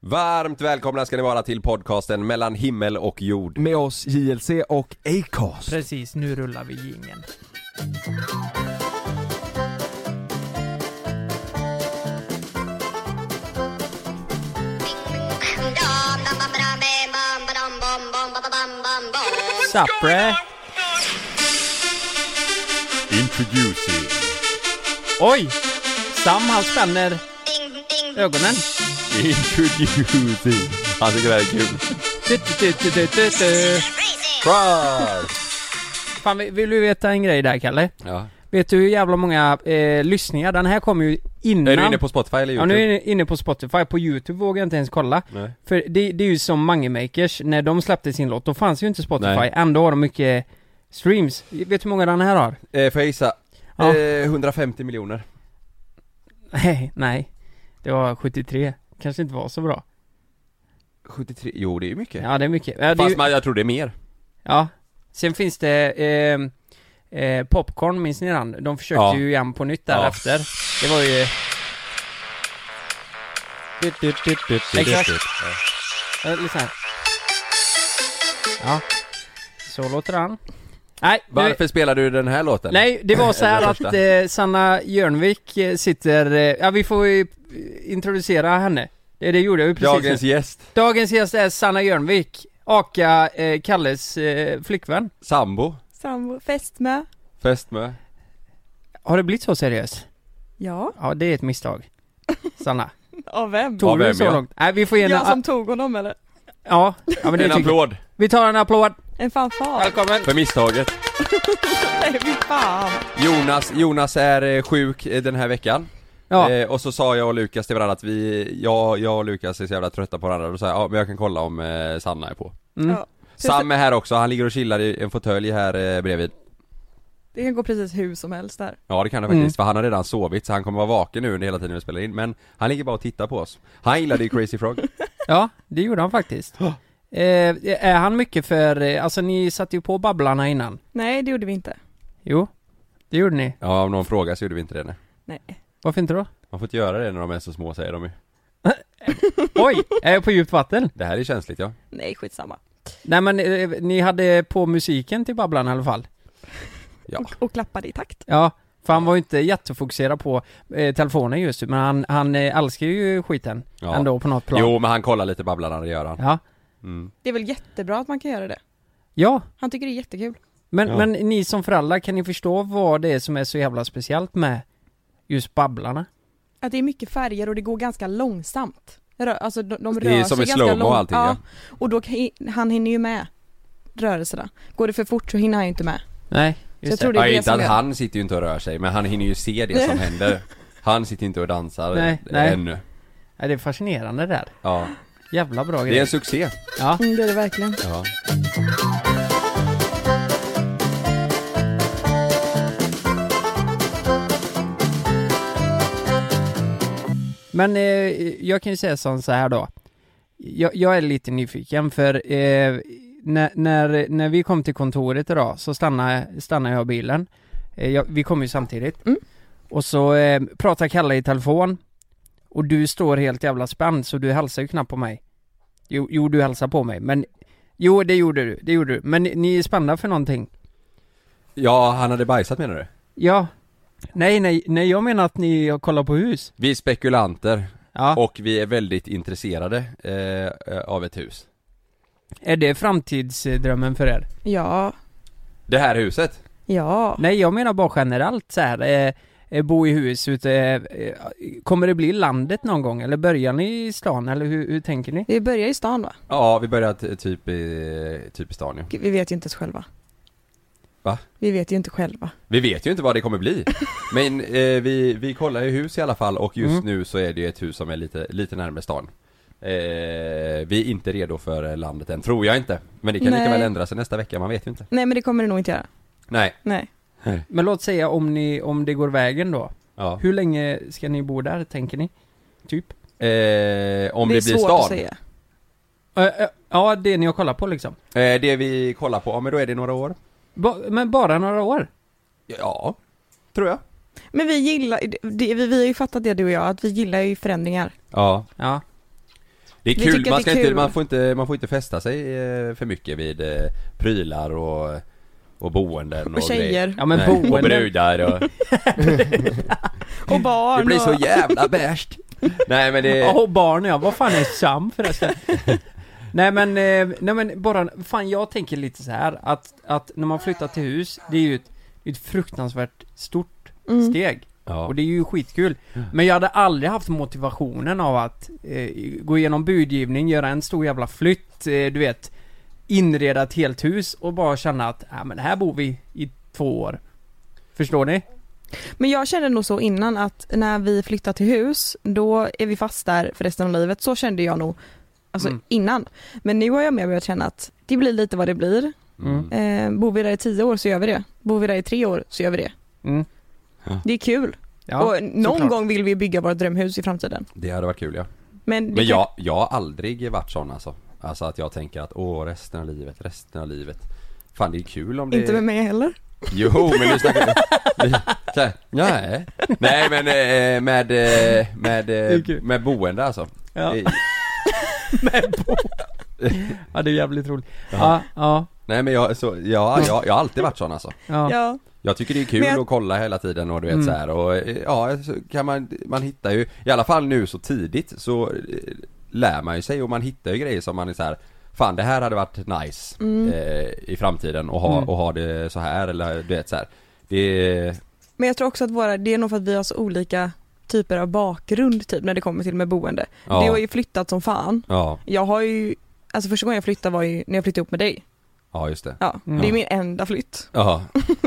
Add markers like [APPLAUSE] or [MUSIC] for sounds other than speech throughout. Varmt välkomna ska ni vara till podcasten mellan himmel och jord. Med oss JLC och Acast. Precis, nu rullar vi jingeln. Sapre. Introducing. Oj! Sam han spänner ögonen. Introducing. Han tycker det här är kul. Du, du, du, du, du, du. Crush! Fan, vi- vill du veta en grej där Kalle? Ja. Vet du hur jävla många eh, lyssningar? Den här kom ju innan... Är du inne på Spotify eller Ja YouTube? nu är jag inne på Spotify, på YouTube vågar jag inte ens kolla. Nej. För det, det är ju som Mange Makers, när de släppte sin låt, då fanns ju inte Spotify, Nej. ändå har de mycket streams. Vet du hur många den här har? [LAUGHS] Eh, får jag gissa? Ja. Eh, 150 miljoner. Nej, nej. Det var 73. Kanske inte var så bra. 73, jo det är ju mycket. Ja, det är mycket. Ja, det är Fast ju, man, jag tror det är mer. ja. Sen finns det ehm, eh, Popcorn, minns ni den? De försökte Ja. ju igen på nytt Ja. därefter. Det var ju... Exakt. Eh, lyssna här. Ja. Så låter han. Nej, nu- Varför spelar du den här låten? Nej, det var så Eller här att första. eh, Sanna Jörnvik eh, sitter, eh, ja vi får ju eh, introducera henne. Det, det gjorde jag ju precis Dagens nu. gäst, Dagens gäst är Sanna Jörnvik, aka eh, Kalles eh, flickvän. sambo, Sambo, fästmö. fästmö. Har det blivit så seriös? Ja, Ja, det är ett [LAUGHS] misstag. Sanna, av vem? tog Av du vem, så ja? långt? Nej, vi får ge en... Jag som tog honom eller? Ja, ja men det En tycker jag. applåd Vi tar en applåd. En fanfar? Välkommen. för misstaget. Nej fy fan! Jonas, Jonas är eh, sjuk eh, den här veckan. Ja, Eh, och så sa jag och Lukas till varandra att vi, jag, jag och Lukas är så jävla trötta på varandra, och då sa jag, ja men jag kan kolla om eh, Sanna är på. Mm. Ja. Sam är här också, han ligger och chillar i en fåtölj här eh, bredvid. Det kan gå precis hur som helst där. Ja det kan han Mm. faktiskt, för han har redan sovit så han kommer vara vaken nu under hela tiden vi spelar in, men han ligger bara och tittar på oss. Han gillade [LAUGHS] ju Crazy Frog. ja, det gjorde han faktiskt. Ja. Eh, är han mycket för, eh, alltså ni satte ju på Babblarna innan. Nej det gjorde vi inte. Jo, det gjorde ni. Ja om någon frågar så gjorde vi inte det nej. Nej. Varför [LAUGHS] inte då? Man får inte göra det när de är så små säger de ju. Oj, är jag på djupt vatten? Det här är känsligt ja. Nej skitsamma. Nej men eh, ni hade på musiken till Babblan i alla fall. Ja. Och, och klappade i takt. Ja, för han var ju inte jättefokuserad på eh, telefonen just men han, han eh, älskar ju skiten ja. ändå på något plan. Jo men han kollar lite Babblarna, det gör han. Ja, Mm. Det är väl jättebra att man kan göra det. ja Han tycker det är jättekul. men, Ja. men ni som föräldrar, kan ni förstå vad det är som är så jävla speciellt med just Babblarna? Att det är mycket färger och det går ganska långsamt. Rö- alltså de, de rör Det är som sig i ganska slowmo och lång- allting ja. Och då kan, han hinner ju med rörelserna. Går det för fort så hinner han ju inte med. Nej, Så jag just tror det det. är Ja, det inte som att gör. han sitter ju inte och rör sig, men han hinner ju se det [LAUGHS] som händer. Han sitter inte och dansar Nej, nej. ännu. Ja, det är fascinerande det där. Ja. Jävla bra Det är grej. en succé. Ja. Mm, det är det verkligen. Ja. Men eh, jag kan ju säga som så här då. Jag, jag är lite nyfiken för eh, när, när, när vi kom till kontoret idag så stannade, stannade jag bilen. Eh, jag, vi kom ju samtidigt. Mm. Och så eh, pratar Kalle i telefon. Och du står helt jävla spänd så du hälsar ju knappt på mig. Jo, jo du hälsar på mig men Jo det gjorde du, det gjorde du. Men ni, ni är spända för någonting? ja, han hade bajsat menar du? Ja. Nej nej, nej jag menar att ni har kollat på hus. Vi är spekulanter Ja. och vi är väldigt intresserade eh, eh, av ett hus. Är det framtidsdrömmen för er? Ja, Det här huset? Mm. ja. Nej, jag menar bara generellt så här. Eh, eh, bo i hus ute. Eh, eh, kommer det bli landet någon gång? Eller börjar ni i stan? Eller hur, hur tänker ni? Vi börjar i stan va? Ja, vi börjar t- typ i, typ i stan ja. Gud, Vi vet ju inte ens själva. Va? Vi vet ju inte själva. Vi vet ju inte vad det kommer bli. Men eh, vi, vi kollar ju hus i alla fall och just Mm. nu så är det ju ett hus som är lite, lite närmare stan. Eh, vi är inte redo för landet än, tror jag inte. Men det kan lika Nej. väl ändra sig nästa vecka, man vet ju inte. Nej men det kommer det nog inte göra. Nej, Nej. Men låt säga om, ni, om det går vägen då. ja. Hur länge ska ni bo där, tänker ni? Typ? Eh, om det, är blir svårt stad. att säga. Eh, eh, ja, det ni har kollat på liksom. Eh, det vi kollar på, ja men då är det några år. Ba, men bara några år? Ja, tror jag. Men vi gillar, det, vi, vi har ju fattat det du och jag, att vi gillar ju förändringar. Ja. Ja. Det Det är Vi kul, tycker man, att det ska är inte, kul. man får inte, man får inte fästa sig eh, för mycket vid eh, prylar och, och boenden Och grejer. tjejer. Ja men Nej, Och boende, brudar och... [LAUGHS] Och barn. Det blir så och... jävla bäst! Nej men [LAUGHS] det... ja och barn ja, vad fan är Sam förresten? nej men, eh, nej men bara, fan jag tänker lite så här att, att när man flyttar till hus, det är ju ett, det är ett fruktansvärt stort Mm. steg. Ja. Och det är ju skitkul. Men jag hade aldrig haft motivationen av att eh, gå igenom budgivning, göra en stor jävla flytt, eh, du vet. Inreda ett helt hus och bara känna att, ja men här bor vi i två år. Förstår ni? Men jag kände nog så innan att när vi flyttar till hus, då är vi fast där för resten av livet. Så kände jag nog alltså, Mm. innan. Men nu har jag mer börjat känna att det blir lite vad det blir. Mm. Eh, bor vi där i tio år så gör vi det. Bor vi där i tre år så gör vi det. Mm. Det är kul. Ja, och någon såklart. gång vill vi bygga vårt drömhus i framtiden. Det hade varit kul ja. Men, det Men kan- jag, jag har aldrig varit sån alltså. Alltså att jag tänker att åh resten av livet, resten av livet. Fan det är kul om det... Inte med mig heller. Jo men nu snackar [LAUGHS] vi... Så här, Nej. Nej men eh, med, eh, med, Det är eh, kul. med boende alltså. Ja. Eh, ja, det är jävligt roligt. Ja, ja, Nej men jag, så, ja, jag, jag har alltid varit sån alltså. ja. Ja. Jag tycker det är kul Men jag- att kolla hela tiden och du vet Mm. så här och eh, ja, så kan man, man hittar ju, i alla fall nu så tidigt så eh, lär man ju sig och man hittar ju grejer som man är så här Fan det här hade varit nice Mm. eh, i framtiden och ha, Mm. och ha det så här eller du vet så här. Det, Men jag tror också att våra, det är nog för att vi har så olika typer av bakgrund typ när det kommer till med boende. Ja. Du har ju flyttat som fan. ja, Jag har ju, alltså första gången jag flyttade var ju när jag flyttade ihop med dig. ja just det. Ja, Mm. det är min enda flytt. [LAUGHS] Ja,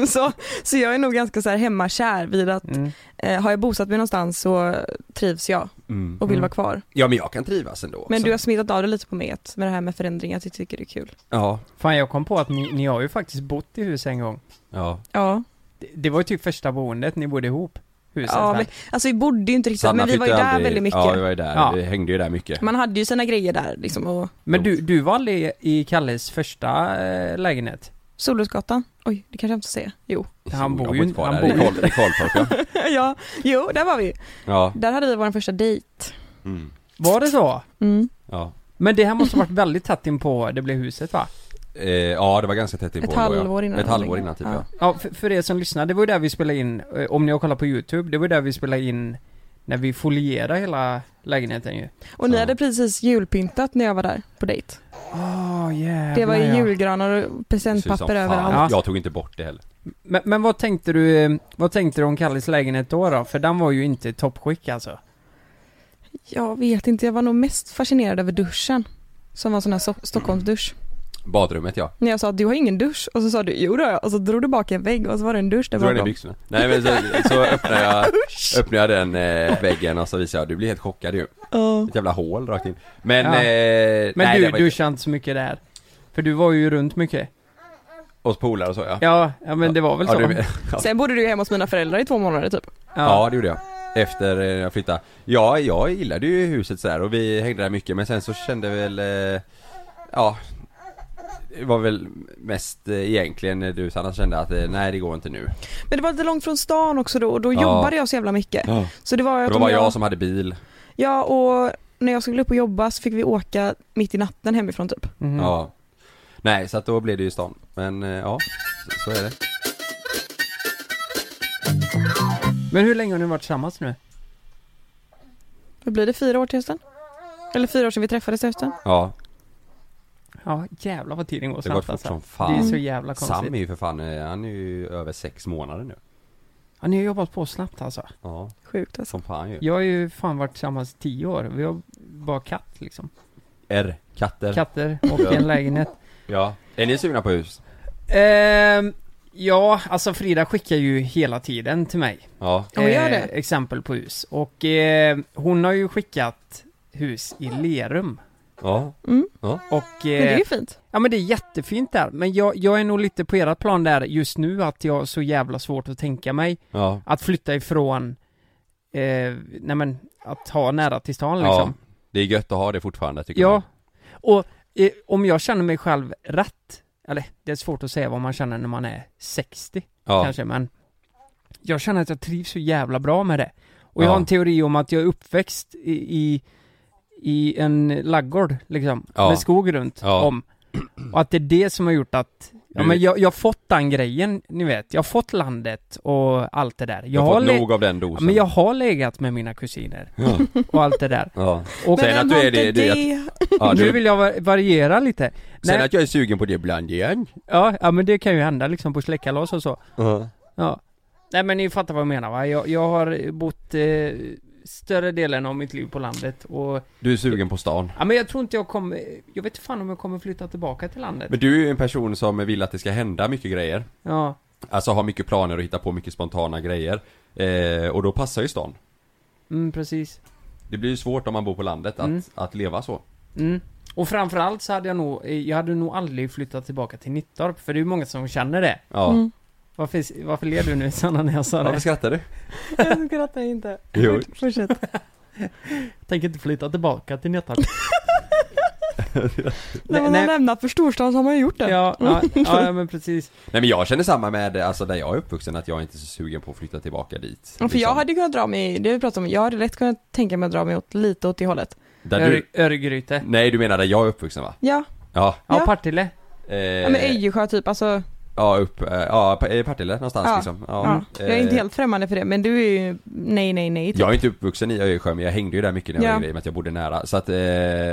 så, så jag är nog ganska så här hemmakär vid att Mm. eh, har jag bosatt mig någonstans så trivs jag mm. och vill Mm. vara kvar. ja men jag kan trivas ändå Men också. du har smittat av det lite på mig att- med det här med förändringar, att jag tycker det är kul. Ja, Fan jag kom på att ni, ni har ju faktiskt bott i hus en gång. ja, Ja, Det, det var ju typ första boendet ni bodde ihop. Huset ja där. men, alltså vi bodde ju inte riktigt, Sanna men vi var ju flyttade där aldrig- väldigt mycket. Ja vi var ju där, Ja. vi hängde ju där mycket. Man hade ju sina grejer där liksom och Men du, du var aldrig i Kalles första eh, lägenhet? Solrosgatan, oj det kanske jag inte ska säga, jo. [LAUGHS] han bor Jag ju- inte kvar han där. bor I ju- Karl- i Karltorp ja. [LAUGHS] ja, jo där var vi. Ja, Där hade vi vår första dejt. mm. Var det så? Mm. ja. Men det här måste ha varit väldigt tätt in på det blev huset va? Eh, ja det var ganska tätt inpå Ett ändå, ja. halvår innan. Ett halvår innan typ ja. Ja, för, för er som lyssnar, det var ju där vi spelade in, eh, om ni har kollat på YouTube, det var ju där vi spelade in när vi folierade hela lägenheten ju. Och ni Ja. hade precis julpyntat när jag var där på dejt. Åh Ah, oh, jävlar Det var ju ja. julgranar och Precis som presentpapper fan. överallt. Ja. Jag tog inte bort det heller. Men, men vad tänkte du, eh, vad tänkte du om Kalles lägenhet då då? För den var ju inte i toppskick alltså. Jag vet inte, jag var nog mest fascinerad över duschen. Som var en sån här so- Stockholmsdusch. Badrummet ja. När jag sa att du har ingen dusch och så sa du jo då har jag." och så drog du bak en vägg och så var det en dusch där Dra ner bakom. byxorna. Nej men så, så öppnar jag, Usch! öppnar jag den eh, väggen och så visar jag, du blir helt chockad ju. Ja. Ett jävla hål rakt in. Men, Ja. eh, Men nej, det du, var du inte- kände inte så mycket där. För du var ju runt mycket. Hos polare och så ja. Ja, ja men det var väl så. Ja, du, ja. Sen bodde du ju hemma hos mina föräldrar i två månader typ. ja det gjorde jag. Efter eh, jag flyttade. Ja, jag gillade ju huset sådär och vi hängde där mycket men sen så kände väl, eh, ja. Det var väl mest eh, egentligen eh, du Sanna kände att eh, nej det går inte nu. Men det var lite långt från stan också då och då Ja. jobbade jag så jävla mycket. Ja. Så det var ju Och att då om var jag som hade bil. Ja och när jag skulle upp och jobba så fick vi åka mitt i natten hemifrån typ. Mhm. Ja. Nej, så att då blev det ju stan. Men eh, ja, så- så är det. Men hur länge har ni varit tillsammans nu? Vad blir det, fyra år till hösten? Eller fyra år sedan vi träffades till hösten? Ja, Ja, jävlar vad tiden går det går snabbt fort alltså. som Det är fan. så jävla Sam är konstigt. ju för fan, eh, han är ju över sex månader nu. Ja, ni har jobbat på snabbt alltså. Ja, Sjukt alltså. som fan ju. Jag har ju fan varit tillsammans i tio år. Vi har bara katt liksom. R, katter. Katter och en lägenhet. Ja. Är ni sugna på hus? Ehm, ja, alltså Frida skickar ju hela tiden till mig. Ja. Ja, hon gör eh, det. Exempel på hus. Och eh, hon har ju skickat hus i Lerum. Ja. Och... Mm. Men det är Eh, ju fint. ja men det är jättefint där. Men jag, jag är nog lite på ert plan där just nu att jag har så jävla svårt att tänka mig Ja. att flytta ifrån... Eh, nej men, att ha nära till stan liksom. ja. Det är gött att ha det fortfarande tycker Ja. man. Och eh, om jag känner mig själv rätt, eller det är svårt att säga vad man känner när man är 60 Ja. kanske, men jag känner att jag trivs så jävla bra med det. Och jag har Ja. en teori om att jag är uppväxt i, i, i en laggård liksom, Ja. med skog runt Ja. om. Och att det är det som har gjort att, ja Du- men jag, jag har fått den grejen, ni vet. Jag har fått landet och allt det där. Jag Jag har har, fått le- nog av den Ja, dosen. men jag har legat med mina kusiner Ja. och allt [LAUGHS] det där. Ja. Och Säg att du är det- det- Ja, [LAUGHS] nu du, vill jag va- variera lite. sen Nej. att jag är sugen på det ibland igen. Ja, ja men det kan ju hända liksom på släktkalas och så. Ja. Ja. Nej men ni fattar vad jag menar va? Jag, jag har bott eh, större delen av mitt liv på landet och Du är sugen på stan. Ja men jag tror inte jag kommer, jag vet fan om jag kommer flytta tillbaka till landet. Men du är ju en person som vill att det ska hända mycket grejer. Ja. Alltså har mycket planer och hitta på mycket spontana grejer. Eh, och då passar ju stan. Mm, precis. Det blir ju svårt om man bor på landet att, Mm. att leva så. Mm. Och framförallt så hade jag nog, eh, jag hade nog aldrig flyttat tillbaka till Nittorp, för det är ju många som känner det. Ja. Mm. Varför, varför ler du nu Sanna när jag sa Varför det? skrattar du? Jag skrattar inte. Jo. [LAUGHS] Fortsätt. Jag tänker inte flytta tillbaka till Nittorp. När man nej. har lämnat för storstan så har man ju gjort [LAUGHS] det. ja, ja, [LAUGHS] ja men precis. Nej men jag känner samma med, alltså där jag är uppvuxen, att jag är inte är så sugen på att flytta tillbaka dit. Liksom. För jag hade kunnat dra mig, det vi pratade om, jag hade lätt kunnat tänka mig att dra mig åt, lite åt det hållet. Där Ör, du... Örgryte. Nej du menar där jag är uppvuxen va? Ja, Ja. Ja, Ja. Partille. Eh, ja men Öjersjö typ, alltså, ja upp, eh, ja Pa- eh, Partille någonstans Ja. liksom. ja. jag är inte Eh, helt främmande för det, men du är ju nej, nej, nej. Typ. Jag är inte uppvuxen i Öjersjö men jag hängde ju där mycket när jag Ja. var yngre i och med att jag bodde nära. Så att, eh,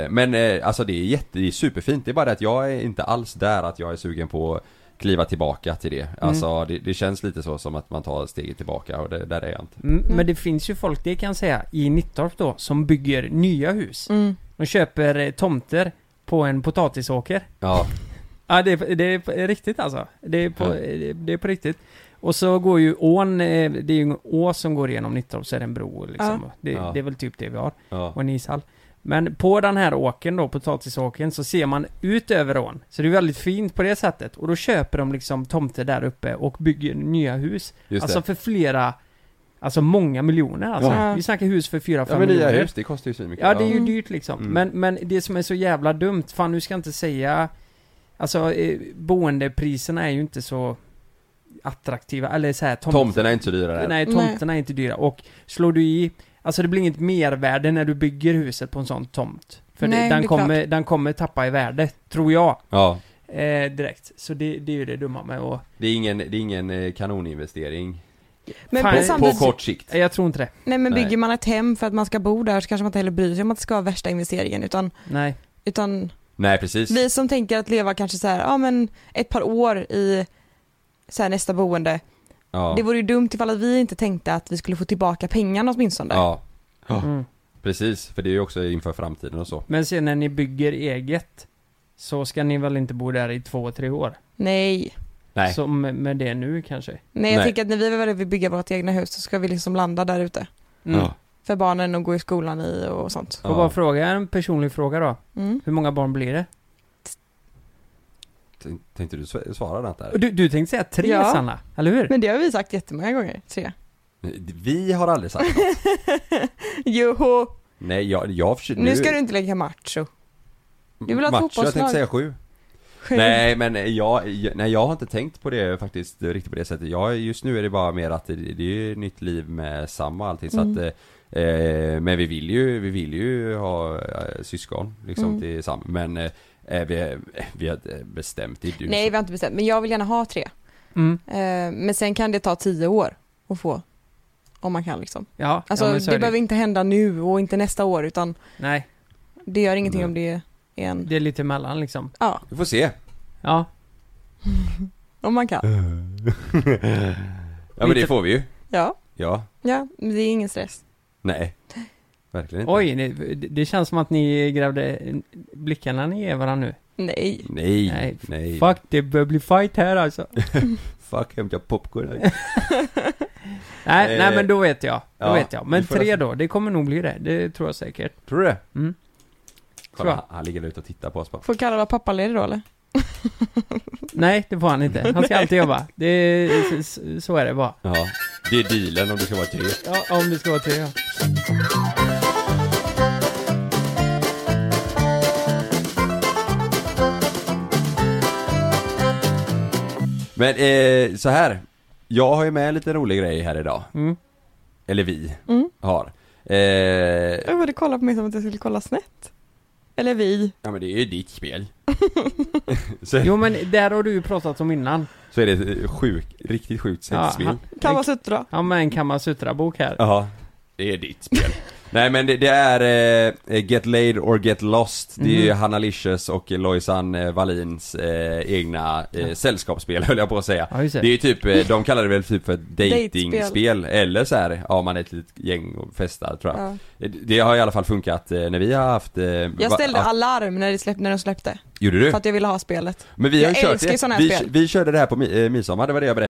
men eh, alltså det är jätte, det är superfint. Det är bara det att jag är inte alls där att jag är sugen på att kliva tillbaka till Mm. det. Alltså det, det känns lite så som att man tar steget tillbaka och det, där är jag inte. Mm, Men det finns ju folk, det kan jag säga, i Nittorp då, som bygger nya hus. Mm. De köper eh, tomter på en potatisåker. Ja, Ja, det är, det är på- riktigt alltså. Det är, på, Ja. det är på riktigt. Och så går ju ån, eh, det är ju en å som går igenom Nittorp, så är det en bro liksom. Det, Ja. det är väl typ det vi har, ja. och en ishall. Men på den här åken då, potatisåken, så ser man ut över ån. Så det är väldigt fint på det sättet. Och då köper de liksom tomter där uppe och bygger nya hus. just alltså det. för flera, alltså många miljoner alltså. Ja. Vi snackar hus för fyra Ja fem men nya miljoner. hus, det kostar ju så mycket. Ja, det är ju Mm. dyrt liksom. Mm. Men, men det som är så jävla dumt, fan du ska inte säga... Alltså, eh, boendepriserna är ju inte så attraktiva, eller så här, tomt- Tomten är inte så dyra där. Nej, tomterna är inte dyra. Och slår du i... Alltså det blir inget mervärde när du bygger huset på en sån tomt. För Nej, det, den, det är kommer, den kommer tappa i värde, tror jag. Ja. Eh, direkt. Så det, det är ju det dumma med att... Det är ingen, det är ingen eh, kanoninvestering Men, Fan, men på- på samtidigt, kort sikt. Nej, Jag tror inte det. nej, men Nej. bygger man ett hem för att man ska bo där så kanske man inte heller bryr sig om att det ska vara värsta investeringen, utan, Nej. utan Nej precis. vi som tänker att leva kanske så här, ja men ett par år i så här, nästa boende, Ja. det vore ju dumt ifall att vi inte tänkte att vi skulle få tillbaka pengarna åtminstone. ja, Mm. precis. För det är ju också inför framtiden och så. Men sen när ni bygger eget, så ska ni väl inte bo där i två, tre år? Nej. Nej. Som med det nu kanske. Nej, jag Nej. tänker att när vi väl vill bygga vårt egna hus så ska vi liksom landa där ute. Mm. Ja. För barnen och gå i skolan i och sånt. Får bara fråga en personlig fråga då. Mm. Hur många barn blir det? Tänk- Tänkte du sv- svara något där? Du, du tänkte säga tre Ja. Sanna, eller hur? Men det har vi sagt jättemånga gånger, tre. Vi har aldrig sagt [LAUGHS] något. Joho! Nej, jag, jag försöker... Nu ska du inte lägga macho. du vill ha ett Macho, fotbollslag. jag tänkte säga sju. Nej men jag, jag- nej jag har inte tänkt på det faktiskt eh, riktigt på det sättet. Jag, just nu är det bara mer att det, det är ju nytt liv med samma och allting så Mm. att eh, eh, Men vi vill ju, vi vill ju ha eh, syskon liksom Mm. tillsammans men eh, eh, vi, eh, vi har eh, bestämt det är du Nej, som- vi har inte bestämt. Men jag vill gärna ha tre. Mm. Eh, Men sen kan det ta tio år att få. Om man kan liksom. Ja, Alltså ja, men så är det behöver inte hända nu och inte nästa år utan Nej, det gör ingenting Nej. om det är en, det är lite mellan liksom. ja, Vi får se. Ja, om man kan. Ja men Lite- det får vi ju. Ja, Ja. ja, men det är ingen stress. Nej. Verkligen inte. oj, det, det känns som att ni grävde blickarna ner varandra nu. Nej. Nej. Nej, Nej. Fuck, det bör bli fight [LAUGHS] här alltså. Fuck hämta popcorn. nej, Eh, nej men då vet jag. Då ja, vet jag. Men vi får tre nästan- då, det kommer nog bli det. Det tror jag säkert. Tror du det? Mm. Tror jag. Kolla, han, han ligger där ute och tittar på oss bara. Får Kalle vara pappaledig då eller? [LAUGHS] Nej, det får han inte. Han ska alltid jobba. Det, är- så, så är det bara. Ja. Det är dealen om det ska vara tre. Ja, om det ska vara tre ja. Men eh, så här. Jag har ju med en lite rolig grej här idag. Mm. Eller vi Mm. har. Eh, Jag borde kolla på mig som att jag skulle kolla snett. Eller vi. ja men det är ju ditt spel. så, Jo men där har du ju pratat om innan. så är det ett sjuk, riktigt sjukt sexspel. Ja, Kan vara suttra. Ja men en Kamasutra-bok här. Ja, det är ditt spel. [LAUGHS] Nej men det, det är eh, Get Laid or Get Lost. Det är ju Mhm. Hanna Licious och Lojsan eh, Wallins eh, egna eh, sällskapsspel [LAUGHS] höll jag på att säga. Ja, just det. Det är ju typ, eh, de kallar det väl typ [LAUGHS] för datingspel Datespel. eller så här, ja man är ett litet gäng och festar tror jag. Ja. Det, det har i alla fall funkat eh, när vi har haft eh, Jag va- ställde haft- alarm när, det släpp, när de släppte. Gjorde du? För att jag ville ha spelet. Men vi har ju jag kört älskar ju såna det. här Vi, spel. vi körde det här på mi- eh, midsommar, det var det jag berättade.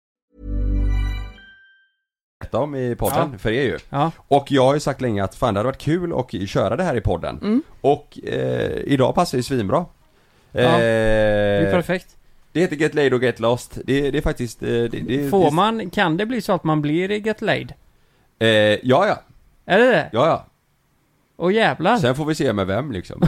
berätta om i podden Ja. för er ju. Ja. Och jag har ju sagt länge att fan det hade varit kul att köra det här i podden. Mm. Och eh, idag passar ju svinbra. det eh, Det är perfekt. det heter Get Laid och Get Lost. Det, det är faktiskt... Eh, det, det, Får det, man, kan det bli så att man blir get laid? Eh, ja, ja, Är det det? ja, ja. Åh jävlar. Sen får vi se med vem [LAUGHS] liksom.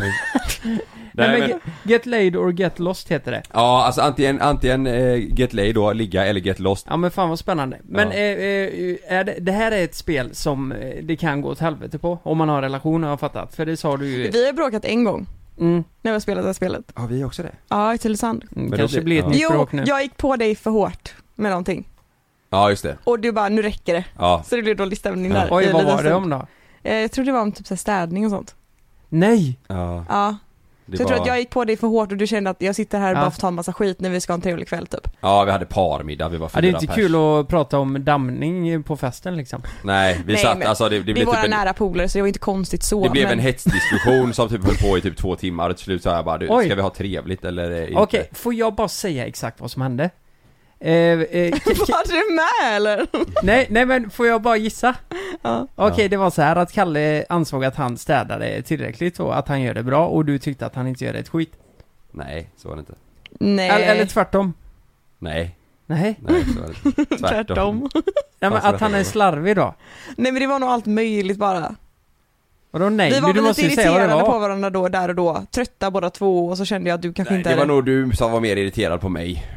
Nej, men, men- Get, get laid or get lost heter det. Ja, alltså antingen, antingen eh, Get Laid då, ligga, eller Get Lost. Ja men fan vad spännande. Men Ja. eh, eh, är det, det här är ett spel som eh, det kan gå åt helvete på. Om man har en relation har jag fattat. För det sa du ju. Vi har bråkat en gång Mm, när vi har spelat det här spelet. Har vi också det? Ja, i Tylösand. mm, då kanske blir- blir ett ja. nytt Jo, bråk nu. jag gick på dig för hårt med någonting. Ja, just det. Och du bara, nu räcker det. Ja. Så det blev dålig stämning där. i Oj, en vad liten var det stund. om då? Eh, Jag tror det var om typ så här städning och sånt. Nej! ja Ja, det så jag tror var- att jag gick på dig för hårt och du kände att jag sitter här och Ja. bara får ta en massa skit när vi ska ha en trevlig kväll typ. Ja, vi hade parmiddag, vi var fyra Ja, det är inte pers. kul att prata om damning på festen liksom. Nej, vi Nej, satt, men alltså det, det Vi blev är våra typ en... nära polare så det var inte konstigt så. Det blev men... en hetsdiskussion som typ höll på i typ två timmar och till slut sa jag bara du, Oj. ska vi ha trevligt eller eh, inte? Okej, får jag bara säga exakt vad som hände? Eh, [LAUGHS] eh, k- k- [LAUGHS] Var du med eller? nej, nej men får jag bara gissa? Ja. Okej, det var så här att Kalle ansåg att han städade tillräckligt och att han gör det bra och du tyckte att han inte gör ett skit. Nej, så var det inte. Nej. Eller, eller tvärtom. Nej, Nej. nej så var det inte. Tvärtom. nej men Fast att han är tvärtom. slarvig då. Nej men det var nog allt möjligt bara. Vadå nej? vi var du väl lite måste ju säga vad det irriterade på var. varandra då, där och då. Trötta båda två och så kände jag att du kanske Nej, inte det är var nog du som var mer irriterad på mig.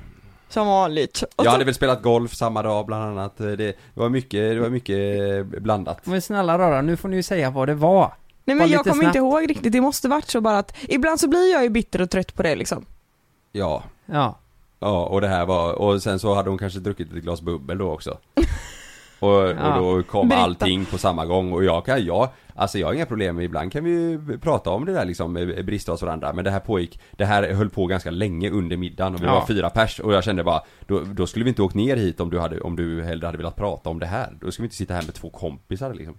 som vanligt. Och Jag så, [LAUGHS] hade väl spelat golf samma dag bland annat. Det, det var mycket, det var mycket blandat. Men snälla rara, nu får ni ju säga vad det var. nej var men jag lite kommer snabbt. inte ihåg riktigt, det måste varit så bara att ibland så blir jag ju bitter och trött på det liksom. Ja. Ja. Ja, och det här var, och sen så hade hon kanske druckit ett glas bubbel då [LAUGHS] också. Och, och då kom Britta. allting på samma gång och jag kan, jag, alltså jag har inga problem, ibland kan vi ju prata om det där liksom, eh, brister hos varandra. Men det här pågick, det här höll på ganska länge under middagen och vi Ja. var fyra pers och jag kände bara, då, då skulle vi inte åkt ner hit om du hade, om du hellre hade velat prata om det här. Då skulle vi inte sitta här med två kompisar liksom.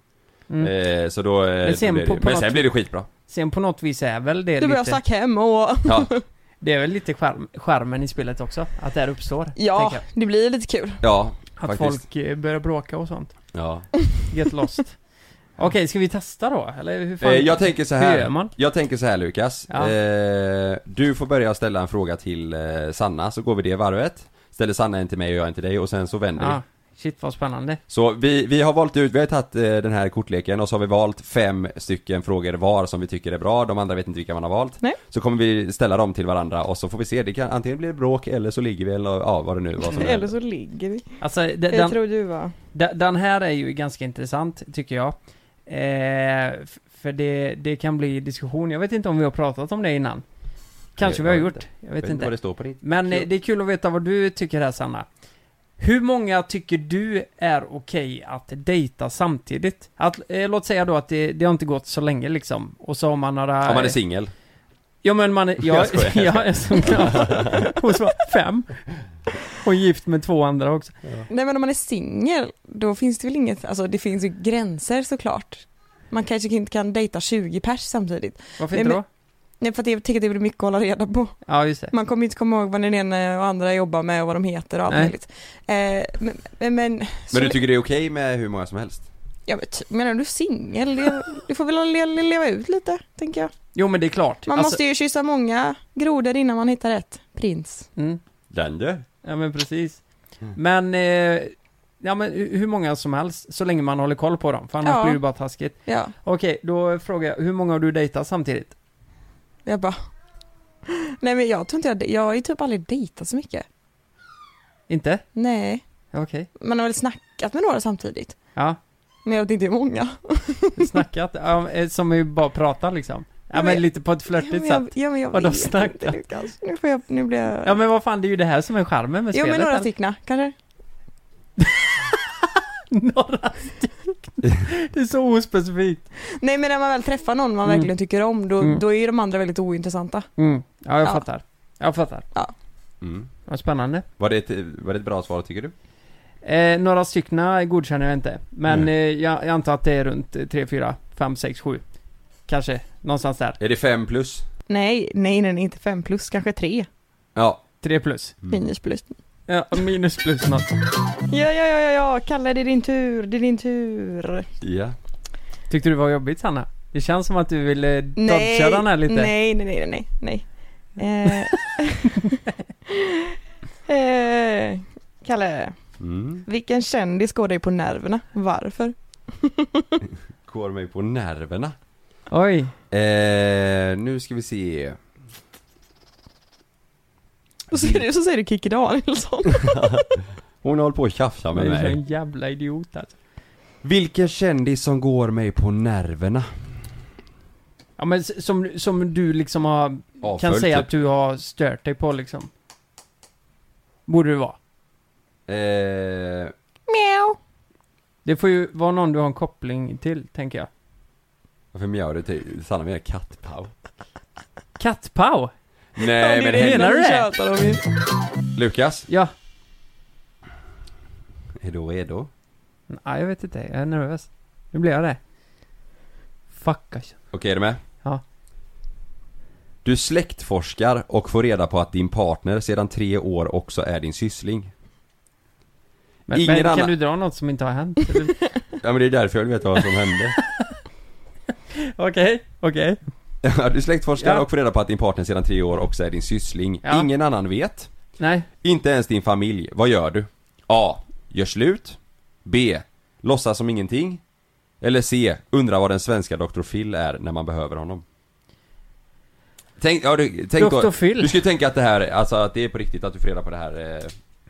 Eh, så då, eh, Mm. Men sen då blev på- det, på men sen något- blev det skitbra. Sen på något vis är väl det Du bara, jag lite... stack hem och [LAUGHS] Ja, Det är väl lite charm, charmen i spelet också, att det här uppstår. ja, tänker jag. det blir lite kul. ja [LAUGHS] Att faktiskt. folk eh, börjar bråka och sånt. Ja. [LAUGHS] Get lost. Okej, ska vi testa då? Eller hur fan? Eh, jag tänker så Hur gör här. man? Jag tänker så här Lukas. Ja. Eh, du får börja ställa en fråga till eh, Sanna, så går vi det varvet. Ställer Sanna en till mig och jag en till dig och sen så vänder ah, vi. shit vad spännande. Så vi, vi har valt ut, vi har tagit eh, den här kortleken och så har vi valt fem stycken frågor var som vi tycker är bra, de andra vet inte vilka man har valt. Nej. Så kommer vi ställa dem till varandra och så får vi se, det kan antingen blir det bråk eller så ligger vi eller ja vad det nu var som [LAUGHS] Eller så ligger vi. Alltså, de- Jag den, tror du var. de- den här är ju ganska intressant, tycker jag. Eh, f- för det, det kan bli diskussion. Jag vet inte om vi har pratat om det innan. Kanske vi har jag vet gjort. Jag Jag vet vet inte vad inte. det står på din. Men eh, Kul. det är kul att veta vad du tycker här, Sanna. Hur många tycker du är okej att dejta samtidigt? Att, eh, låt säga då att det, det har inte gått så länge liksom, och så har man några... Om man är singel. Ja men man är... Jag, Jag skojar. jag är som Hon svarar fem. Och gift med två andra också. Nej men om man är singel, då finns det väl inget, alltså det finns ju gränser såklart. Man kanske inte kan dejta 20 pers samtidigt. Varför Nej, inte men- då? Nej för att jag tycker att det blir mycket att hålla reda på. Ja just det. Man kommer inte komma ihåg vad den ena och andra jobbar med och vad de heter och allt Nej. möjligt. Eh, men, men, men, så- Men du tycker det är okej med hur många som helst? ja, men, ty- menar du singel? Det- Du får väl le- leva ut lite, tänker jag. Jo men det är klart. Man Alltså- måste ju kyssa många grodor innan man hittar rätt prins. Mm. Den du? Ja men precis. Mm. Men, eh, ja men hu- hur många som helst, så länge man håller koll på dem, för annars Ja. blir det bara taskigt. Ja, Okej, då frågar jag, hur många har du dejtat samtidigt? jag bara... [GASPS] Nej men jag tror inte jag, jag har ju typ aldrig dejtat så mycket. Inte? Nej, Okej. man har väl snackat med några samtidigt. Ja, Men jag vet inte hur många. snackat, ja, eh, som ju bara pratar liksom. Ja Ja, men men- lite på ett Ja, men flörtigt jag, sätt. ja, men jag Vadå vet snackat? inte Lukas. Nu, får jag, nu blir jag... Ja men vad fan, det är ju det här som är charmen med spelet. jo alltså. men några eller? styckna kanske. [LAUGHS] några stycken. Det är så ospecifikt. Nej men när man väl träffar någon man Mm. verkligen tycker om då, Mm. då är ju de andra väldigt ointressanta. Mm. Ja, jag Ja. fattar. Jag fattar. Mm. Vad spännande. Var, det ett, var det ett bra svar tycker du? Eh, några styckna godkänner jag inte. Men eh, jag, jag antar att det är runt eh, 3, 4, 5, 6, 7. Kanske någonstans där. Är det fem plus? Nej, nej, nej, nej inte fem plus, kanske tre. Ja. 3 plus. Minus plus. Ja, minus plus något. Ja, ja, ja, ja, ja, Kalle det är din tur, det är din tur. Ja. Tyckte du det var jobbigt Sanna? Det känns som att du ville Nej, dodga den här lite. nej, nej, nej, nej, nej. Eh, eh, [LAUGHS] Kalle, Mm. vilken kändis går dig på nerverna? Varför? Går mig på nerverna. Oj. Eh, nu ska vi se. Och så, är det- så säger du [LAUGHS] Kikki Danielsson. Hon håller på att tjafsa Men med du är en mig. jävla idiot alltså. Vilken kändis som går mig på nerverna? Ja men s- som, som du liksom har, kan Avföljd, säga typ. att du har stört dig på liksom. Borde det vara. Eh, Miau. Det får ju vara någon du har en koppling till, tänker jag. varför mjau du till? Sanna menar kattpau. Kattpau! Nej men det hej, menar du det? tjatar om ju. Lukas. Ja. Är du redo? Nej, jag vet inte. Jag är nervös. Nu blir jag det. Fuck alltså. Okej, är du med? Ja. Du släktforskar och får reda på att din partner sedan tre år också är din syssling. Men, Ingen men kan annan- du dra något som inte [LAUGHS] har hänt? Eller- Ja men det är därför jag vill veta vad som hände. Okej, okej. [LAUGHS] Ja, du släktforskar Ja. och får reda på att din partner sedan tre år också är din syssling. Ja. Ingen annan vet. Nej. Inte ens din familj. Vad gör du? A. Gör slut. B. Låtsas som ingenting. Eller C. Undrar vad den svenska Dr. Phil är när man behöver honom. Tänk, ja, du, tänk Dr. då, Phil. Du ska ju tänka att det här, alltså att det är på riktigt att du får reda på det här. Eh,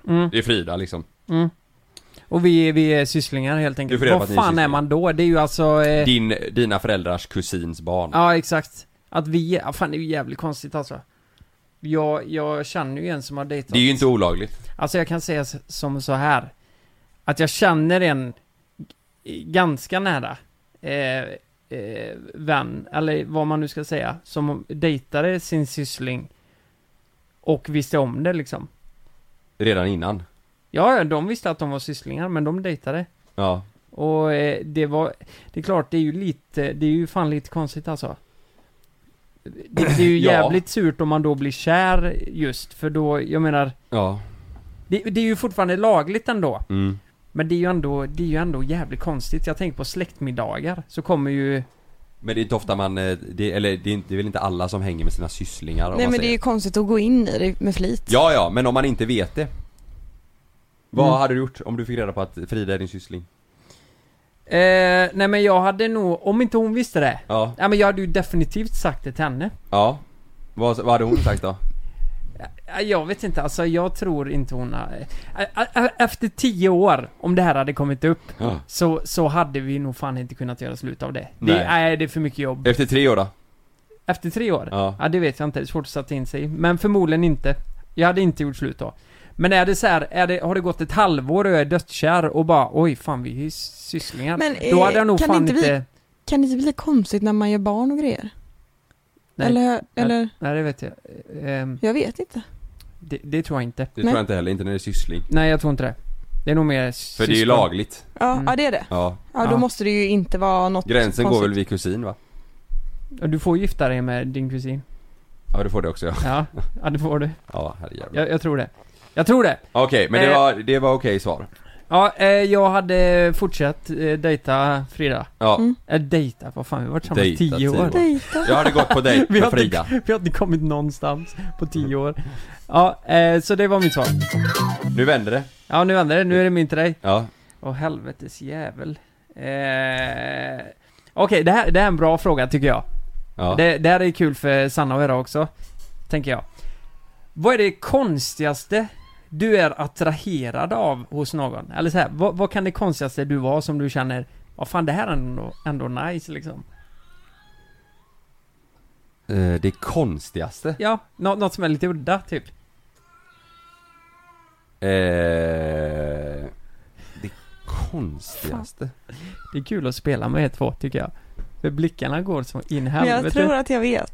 Mm. det är Frida liksom. Och vi, vi är sysslingar helt Du enkelt. får reda på Vad att ni är fan är sysslingar. man då? Det är ju alltså... Eh, Din, dina föräldrars kusins barn. Ja, exakt. Att vi... Ja, fan, det är ju jävligt konstigt alltså. Jag, jag känner ju en som har dejtat. Det är ju inte olagligt. Alltså jag kan säga s- som så här. Att jag känner en g- ganska nära eh, eh, vän, eller vad man nu ska säga, som dejtade sin syssling och visste om det liksom. Redan innan. Ja, ja, de visste att de var sysslingar, men de dejtade. Ja. Och eh, det var, det är klart, det är ju lite, det är ju fan lite konstigt alltså. Det, det är ju Ja. jävligt surt om man då blir kär just, för då, jag menar, Ja. det, det är ju fortfarande lagligt ändå. Mm. Men det är ju ändå, det är ju ändå jävligt konstigt. Jag tänker på släktmiddagar, så kommer ju... Men det är inte ofta man, eh, det, eller det är, inte- det är väl inte alla som hänger med sina sysslingar om Nej man men det säger. är ju konstigt att gå in i det med flit. Ja, ja, men om man inte vet det. Vad Mm. hade du gjort om du fick reda på att Frida är din syssling? Eh, nej men jag hade nog, om inte hon visste det. Ja, Ja men jag hade ju definitivt sagt det till henne. ja. Vad, vad hade hon sagt då? Ja, Jag vet inte, alltså jag tror inte hon har... Eh, eh, Efter tio år, om det här hade kommit upp, Ja. så, så hade vi nog fan inte kunnat göra slut av det. Det, Nej. nej, det är för mycket jobb. Efter tre år då? Efter tre år? Ja. Ja, det vet jag inte. Det är svårt att sätta in sig i. Men förmodligen inte. Jag hade inte gjort slut då. Men är det så här, är det, har det gått ett halvår och jag är dödskär och bara oj fan vi är ju sysslingar. Men, Då eh, hade jag nog kan fan inte inte... vi- Kan det inte bli konstigt när man gör barn och grejer? Nej. Eller, eller, Nej det vet jag. Ehm, jag vet inte. det, det tror jag inte. Det Nej. tror jag inte heller, inte när det är syssling. Nej jag tror inte det. Det är nog mer För det är ju lagligt. Ja, Mm. ja det är det. Ja. Ja, då Ja. måste det ju inte vara något Gränsen konstigt. går väl vid kusin va? Du får gifta dig med din kusin. Ja du får det också ja. Ja, ja det får du. Ja herrejävlar. Jag, jag tror det. Jag tror det. Okej men det Eh. var, det var okej svar. Ja, eh, jag hade fortsatt eh, dejta Frida. Ja. Mm. Eller dejta, vad fan vi har varit tillsammans Dejta tio tio år. år. Dejta. Jag hade gått på [LAUGHS] dejt Vi med hade- Frida. [LAUGHS] Vi har inte kommit någonstans på tio år. Ja, eh, så det var mitt svar. Nu vänder det. Ja, nu vänder det. Nu är det min till dig. Ja. Åh helvetes jävel. Eh, Okej, det, här, det här är en bra fråga tycker jag. Ja. Det, det här är kul för Sanna att höra också. Tänker jag. Vad är det konstigaste du är attraherad av hos någon? Eller så här, vad, vad kan det konstigaste du vara som du känner, ja fan det här är ändå, ändå nice liksom? Eh, det konstigaste. Ja, nå, något som är lite udda typ. Eh, det konstigaste. Det är kul att spela med er två tycker jag. För blickarna går som in i Men jag helvete. tror att jag vet.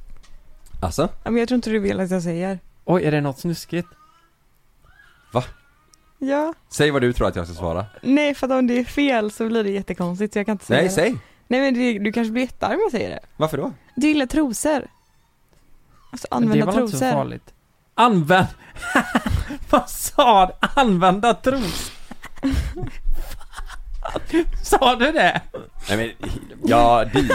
Alltså? Ja, Men jag tror inte du vill att jag säger. Oj, är det något snuskigt? Ja. Säg vad du tror att jag ska svara. Nej, för att om det är fel så blir det jättekonstigt så jag kan inte säga Nej, det. säg! Nej, men det, du kanske blir jättearg om jag säger det. Varför då? Du gillar trosor. Alltså använda det var inte så trosor. farligt. Använd... [LAUGHS] Vad sa du? Använda tros... [LAUGHS] Fan. sa du det? Nej men, ja, di.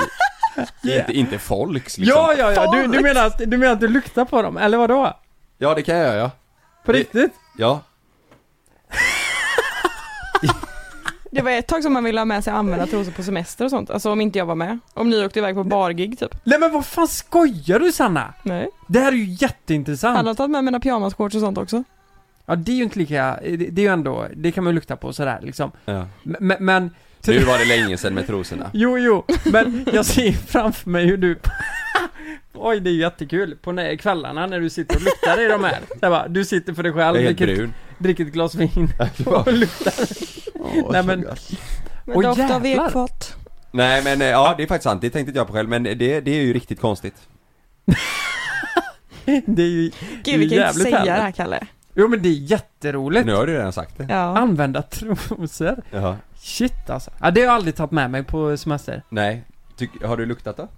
Inte, inte folks liksom. Ja, ja, ja. Du, du, menar att, du menar att du luktar på dem, eller vadå? ja det kan jag göra ja. På Det- riktigt? Ja. Det var ett tag som man ville ha med sig använda trosor på semester och sånt. Alltså om inte jag var med. Om ni åkte iväg på bargig typ. Nej men vad fan skojar du Sanna? Nej. Det här är ju jätteintressant. Alla har tagit med mina pyjamasshorts och sånt också. Ja det är ju inte lika, det, det är ju ändå, det kan man ju lukta på sådär liksom. ja. Men, men Nu var det länge sedan med trosorna. Jo, jo, men jag ser framför mig hur du [LAUGHS] Oj, det är ju jättekul. På nä- kvällarna när du sitter och luktar i de här. Så här bara, du sitter för dig själv, Jag är helt dricker, brun. dricker ett [LAUGHS] glas vin och luktar. Nej, men- Men Åh, doft av jävlar. ekfat. Nej men eh, ja, det är faktiskt sant. Det tänkte inte jag på själv men det, det är ju riktigt konstigt. Det är ju... Gud vi kan ju inte Jävligt säga härligt. det här Kalle. Jo men det är jätteroligt. Nu har du redan sagt det. Ja. Använda trosor. Jaha. Shit alltså. Ja, det har jag aldrig tagit med mig på semester. Nej. Tyck, har du luktat då?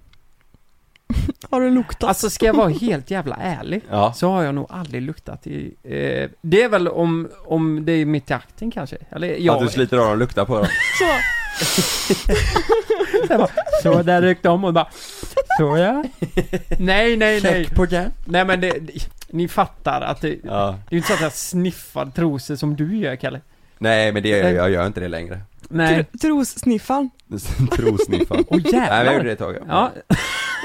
Har du luktat? Alltså ska jag vara helt jävla ärlig. Ja. Så har jag nog aldrig luktat i... Eh, det är väl om, om det är mitt i akten kanske? Eller jag... Att du sliter av dem och luktar på dem. Så. Så där ryckte om och bara Så ja Nej nej nej på den Nej men det, det- ni fattar att det, det Ja. är ju inte så att jag sniffar trosor som du gör Kalle Nej men det, jag, jag gör inte det längre. Nej, Tr- Trossniffaren. [LAUGHS] Trosniffa. åh Nej men jag gjorde det jävlar ett tag ja. Ja,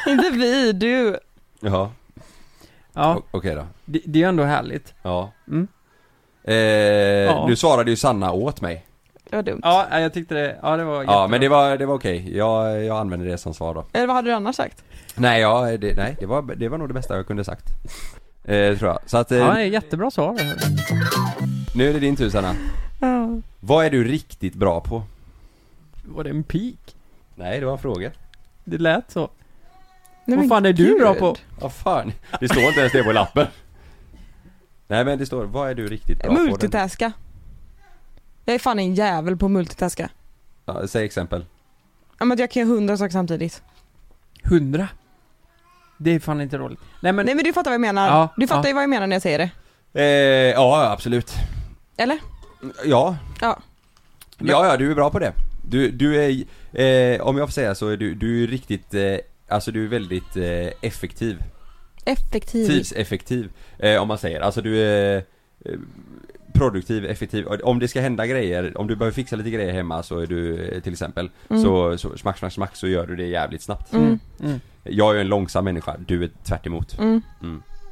[LAUGHS] Inte vi, du. Jaha. ja, O- Okej då. det, det är ju ändå härligt Ja. Mm. Eh, Ja. Nu svarade ju Sanna åt mig. Det var dumt. Ja, jag tyckte det, ja det var Ja jättebra. men det var, det var okej. Jag, jag använde det som svar då. Eller vad hade du annars sagt? Nej, ja, det, nej det, var, det var nog det bästa jag kunde sagt. Eh, tror jag. Så att, eh, Ja, det är jättebra svar nu är det din tur Sanna. Ja. Vad är du riktigt bra på? Var det en pik? Nej, det var en fråga. Det lät så Nej, Vad men fan är du gud. bra på? Vad fan. Det står inte ens det på lappen. Nej men det står, vad är du riktigt bra på? Multitaska. Jag är fan en jävel på att multitaska. Ja, säg exempel. Ja, men jag kan göra hundra saker samtidigt. Hundra Det är fan inte roligt Nej men, Nej men du fattar vad jag menar. Ja, du fattar ja. ju vad jag menar när jag säger det. Eh, ja, absolut. Eller? Ja. Ja. Ja, ja, du är bra på det. Du, du är, eh, om jag får säga så är du, du är riktigt, eh, alltså du är väldigt eh, effektiv. Effektiv. Typ. tidseffektiv eh, om man säger. Alltså du är eh, produktiv, effektiv. Om det ska hända grejer, om du behöver fixa lite grejer hemma så är du eh, till exempel Mm. så, så smack, smack, smack så gör du det jävligt snabbt. Mm. mm. Jag är ju en långsam människa, du är tvärt emot. Mm.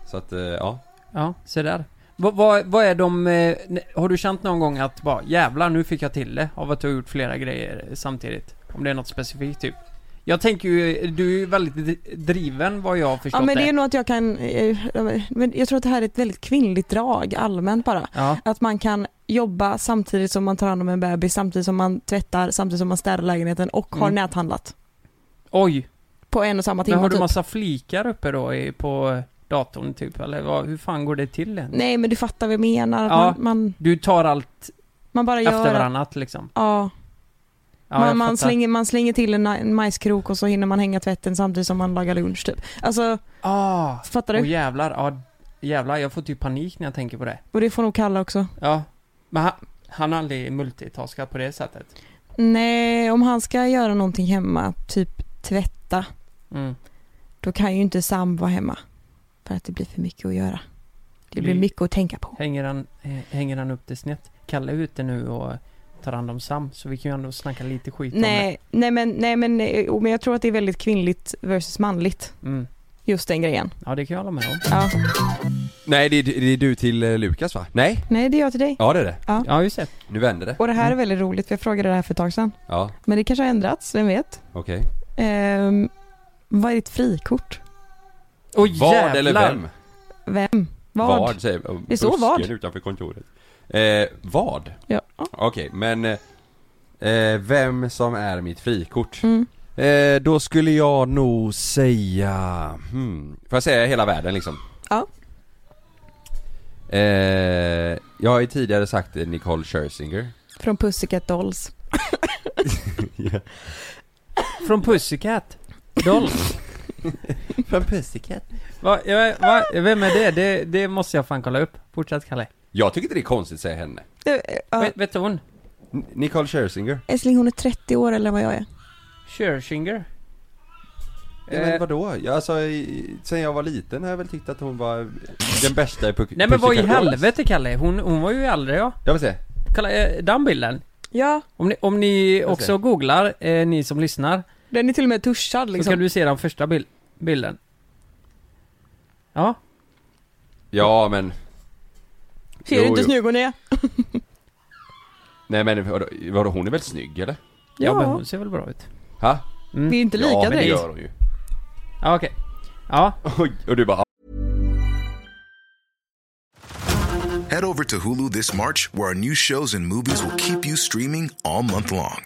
Så att eh, ja. Ja, se där. Vad, vad, vad är de, eh, ne- har du känt någon gång att bara jävlar nu fick jag till det av att du har gjort flera grejer samtidigt? Om det är något specifikt typ? Jag tänker ju, du är ju väldigt dri- driven vad jag har förstått Ja men det det. är nog att jag kan, eh, men jag tror att det här är ett väldigt kvinnligt drag allmänt bara. Ja. Att man kan jobba samtidigt som man tar hand om en bebis, samtidigt som man tvättar, samtidigt som man städar lägenheten och har Mm. näthandlat. Oj, På en och samma men timme har du typ. massa flikar uppe då i, på datorn typ eller vad, hur fan går det till ens? Nej men du fattar vad jag menar, Ja. man, man, Du tar allt man bara gör efter att- varannat liksom? Ja, Ja, jag man, man, fattar. slänger, man slänger till en, en majskrok och så hinner man hänga tvätten samtidigt som man lagar lunch typ. Alltså, Ah, fattar du? och jävlar, ja jävlar, jag får typ panik när jag tänker på det. Och det får nog Kalle också. Ja, men han, han har aldrig multitaskat på det sättet. Nej, om han ska göra någonting hemma, typ tvätta, Mm. då kan ju inte Sam vara hemma. För att det blir för mycket att göra. Det blir Mm. mycket att tänka på. Hänger han, eh, hänger han upp det snett? Kalle är ute nu och tar hand om Sam, så vi kan ju ändå snacka lite skit om Nej, nej men, nej men, eh, jo, men jag tror att det är väldigt kvinnligt versus manligt. det. Mm. Just den grejen. Ja, det kan jag hålla med om. Ja. Nej det är, det är du till eh, Lukas va? Nej? Nej, det är jag till dig. Ja det är det. Ja, just det. Nu vänder det. Och det här Mm. är väldigt roligt, för jag frågade det här för ett tag sedan. Ja, Men det kanske har ändrats, vem vet? okej. Ehm, vad är ditt frikort? Oj Vad eller vem? Vem? Vad? Vad säger jag. Det står vad. Busken utanför kontoret. Eh, vad? Ja. Okej, men... eh, Eh, vem som är mitt frikort? Mm. Eh, då skulle jag nog säga... Hmm, får jag säga hela världen liksom? Ja. Eh, jag har ju tidigare sagt eh, Nicole Scherzinger. Från Pussycat Dolls. Från Pussycat? [LAUGHS] Dolls? Från Pussycat. Va, ja, va, vem är det? det? Det måste jag fan kolla upp. Fortsätt Kalle. Jag tycker inte det är konstigt att säga henne. Eh, eh, ja. Vet, vet hon? N- Nicole Scherzinger. Älskling hon är 30 år eller vad jag är. Scherzinger? Ja, Eh. men vadå? Jag, alltså, i- sen jag var liten har jag väl tyckt att hon var den bästa i Puck- Nej men vad i Pussycat Dolls. helvete Kalle? Hon, hon var ju äldre ja. Jag vill se. Kolla, eh, den bilden. Ja, Om ni, om ni ser. också googlar, eh, ni som lyssnar, den är till och med tuschad så liksom. kan du se den första bil- bilden. Ja, Ja men, Ser du Jo, inte hur jo. snygg hon är? nej men vadå, vadå hon är väl snygg eller? ja. men hon ser väl bra ut. Ha? Vi är inte lika ja men det direkt. gör hon ju. [LAUGHS] Ja okej. Ja, Oj, och du bara Head over to Hulu this March, where our new shows and movies will keep you streaming all month long.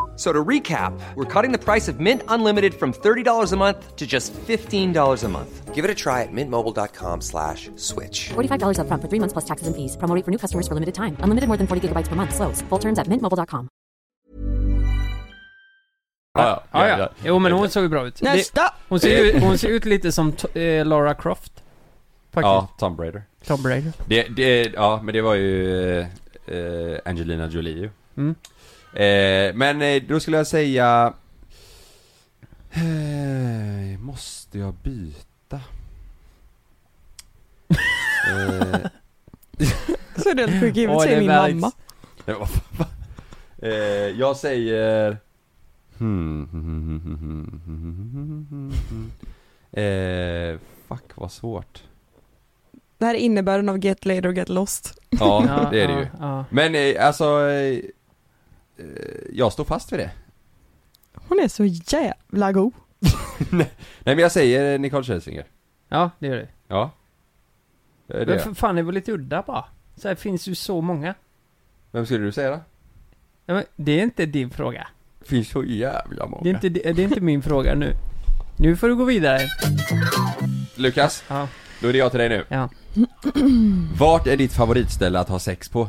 So to recap, we're cutting the price of Mint Unlimited from $30 a month to just $15 a month. Give it a try at mintmobile.com slash switch. $45 upfront for three months plus taxes and fees. Promo rate for new customers for limited time. Unlimited more than 40 gigabytes per month. Slows. Full terms at mintmobile.com. Ja, ja, ja. Jo men hon såg ju bra ut. Det, Nästa! hon, ser ju, hon ser ut lite som t- eh, Lara Croft. Ja, Faktiskt. Tom Brady. Tom Brady. Det, det, ja men det var ju eh, eh, Angelina Jolie ju. Mm. Eh, men eh, då skulle jag säga... Eh, måste jag byta? [LAUGHS] eh, Så den sjuk i Åh, huvudet säger min verks- mamma. [LAUGHS] Nej, vad fan, va? eh, jag säger... Hmm. eh, fuck vad [LAUGHS] svårt. Det här är innebörden av Get Laid och Get Lost. Ja, [LAUGHS] det är det ja, ju. Ja. Men eh, alltså... Eh, eh, jag står fast vid det. Hon är så jävla god. Nej men jag säger eh, Nicole Scherzinger. ja, det gör det. Ja. Det är Men det. för fan, det var lite udda bara. Så här finns ju så många. Vem skulle du säga då? Ja, men det är inte din fråga. Finns så jävla många. Det är inte, det det är inte min fråga nu. Nu får du gå vidare. Lukas, Ja. då är det jag till dig nu. Ja. Vart är ditt favoritställe att ha sex på?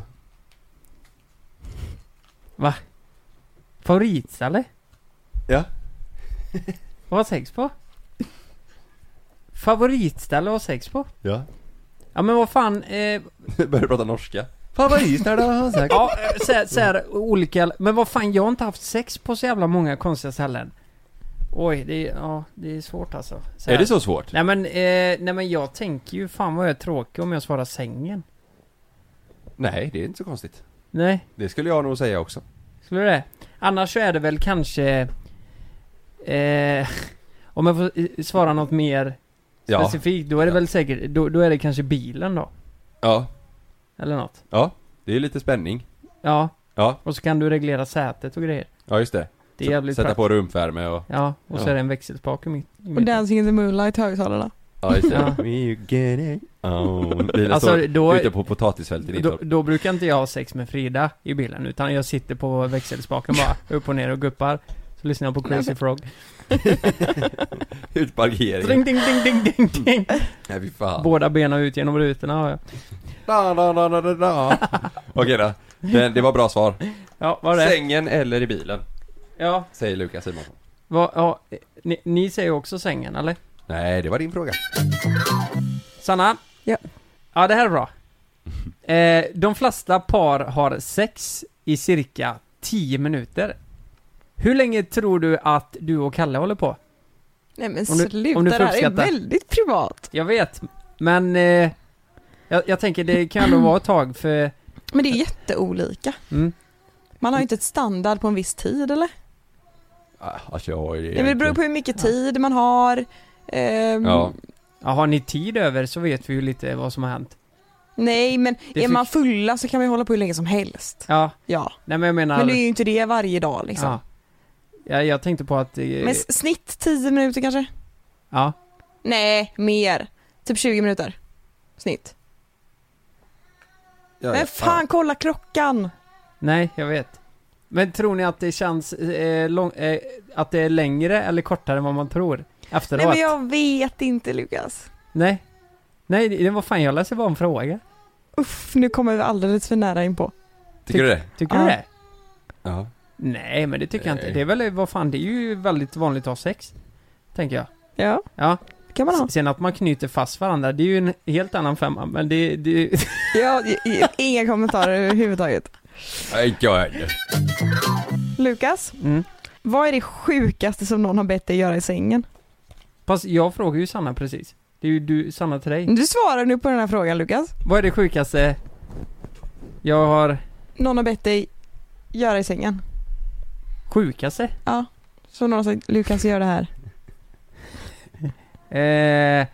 Va? Favoritställe? Ja. Vad har sex på? Favoritställe att ha sex på? Ja. [LAUGHS] Ja men vad fan, eh, Börjar prata norska. Favoritställe har han sagt. ja eh, såhär, såhär olika, men vad fan jag har inte haft sex på så jävla många konstiga ställen. Oj, det är, ja, det är svårt alltså. här. Är det så svårt? Nej men, eh, nej men jag tänker ju fan vad jag är tråkig om jag svarar sängen. Nej, det är inte så konstigt. Nej, Det skulle jag nog säga också. skulle du det? Annars så är det väl kanske... Eh, [LAUGHS] om jag får eh, svara något mer Ja. specifikt, då är det väl säkert, då, då är det kanske bilen då? Ja. Eller något. Ja. Det är lite spänning. Ja, Ja. och så kan du reglera sätet och grejer. Ja, just det. Det är jävligt Sätta praktiskt. på rumfvärme och... Ja, och så Ja. är det en växelspak i mitt... i Och mitt- Dancing in the moonlight högtalarna. Ja, just Ja. [LAUGHS] det. oh, We get it on. Bilen Alltså, står då- ute på potatisfältet i Då, Nittorp. då brukar inte jag ha sex med Frida i bilen, utan jag sitter på växelspaken [LAUGHS] bara, upp och ner och guppar. Så lyssnar jag på Crazy Frog. Ding, Utparkeringen. [LAUGHS] ding, ding, ding, ding, ding. Nej, fy fan. Båda benen ut genom rutorna har jag. Da, da, da, da, da, da. Okej då. Men det var bra svar. Ja, var det? Sängen eller i bilen, Ja, säger Lukas Simonsson. vad, ja eh, ni, ni säger också sängen, eller? Nej, det var din fråga. Sanna? Ja. Ja, det här är bra. Eh, de flesta par har sex i cirka 10 minuter. Hur länge tror du att du och Kalle håller på? Nej men Om du- sluta, om du det här är fullskrattar. väldigt privat. Jag vet, men eh, jag, jag tänker det kan ändå vara ett tag för... Men det är jätteolika. Mm. Man har ju inte ett standard på en viss tid eller? Ah, Alltså, jag har ju Nej, men det beror på hur mycket tid man har. Ehm, Ja. Ja, har ni tid över så vet vi ju lite vad som har hänt. Nej men Det är fick- man fulla så kan man ju hålla på hur länge som helst. Ja, Ja, nej men jag menar... men det är ju inte det varje dag liksom. ja. ja, jag tänkte på att... Eh, Men s- snitt 10 minuter kanske? ja. Nej, mer. Typ 20 minuter. Snitt. Ja, ja. Men fan, kolla klockan! Nej, jag vet. Men tror ni att det känns eh, lång, eh, att det är längre eller kortare än vad man tror? Efteråt? Nej men jag vet inte Lukas. Nej. Nej, det det var fan jag läser bara en fråga. Uff, nu kommer vi alldeles för nära in på. Tycker du det? Tycker Ja. du det? Ja. Nej, men det tycker jag inte. Nej. Det är väl, vad fan, det är ju väldigt vanligt att ha sex. Tänker jag. Ja, Ja. kan man ha. Sen att man knyter fast varandra, det är ju en helt annan femma, men det, det [LAUGHS] Ja, i- i- [LAUGHS] inga kommentarer överhuvudtaget. Nej, Inte jag heller. Lukas, mm. vad är det sjukaste som någon har bett dig göra i sängen? Fast jag frågar ju Sanna precis. Det är ju du, Sanna till dig. Du svarar nu på den här frågan Lukas. Vad är det sjukaste jag har... Någon har bett dig göra i sängen. Sjukaste? Ja. Så någon har sagt Lukas gör det här. Eh,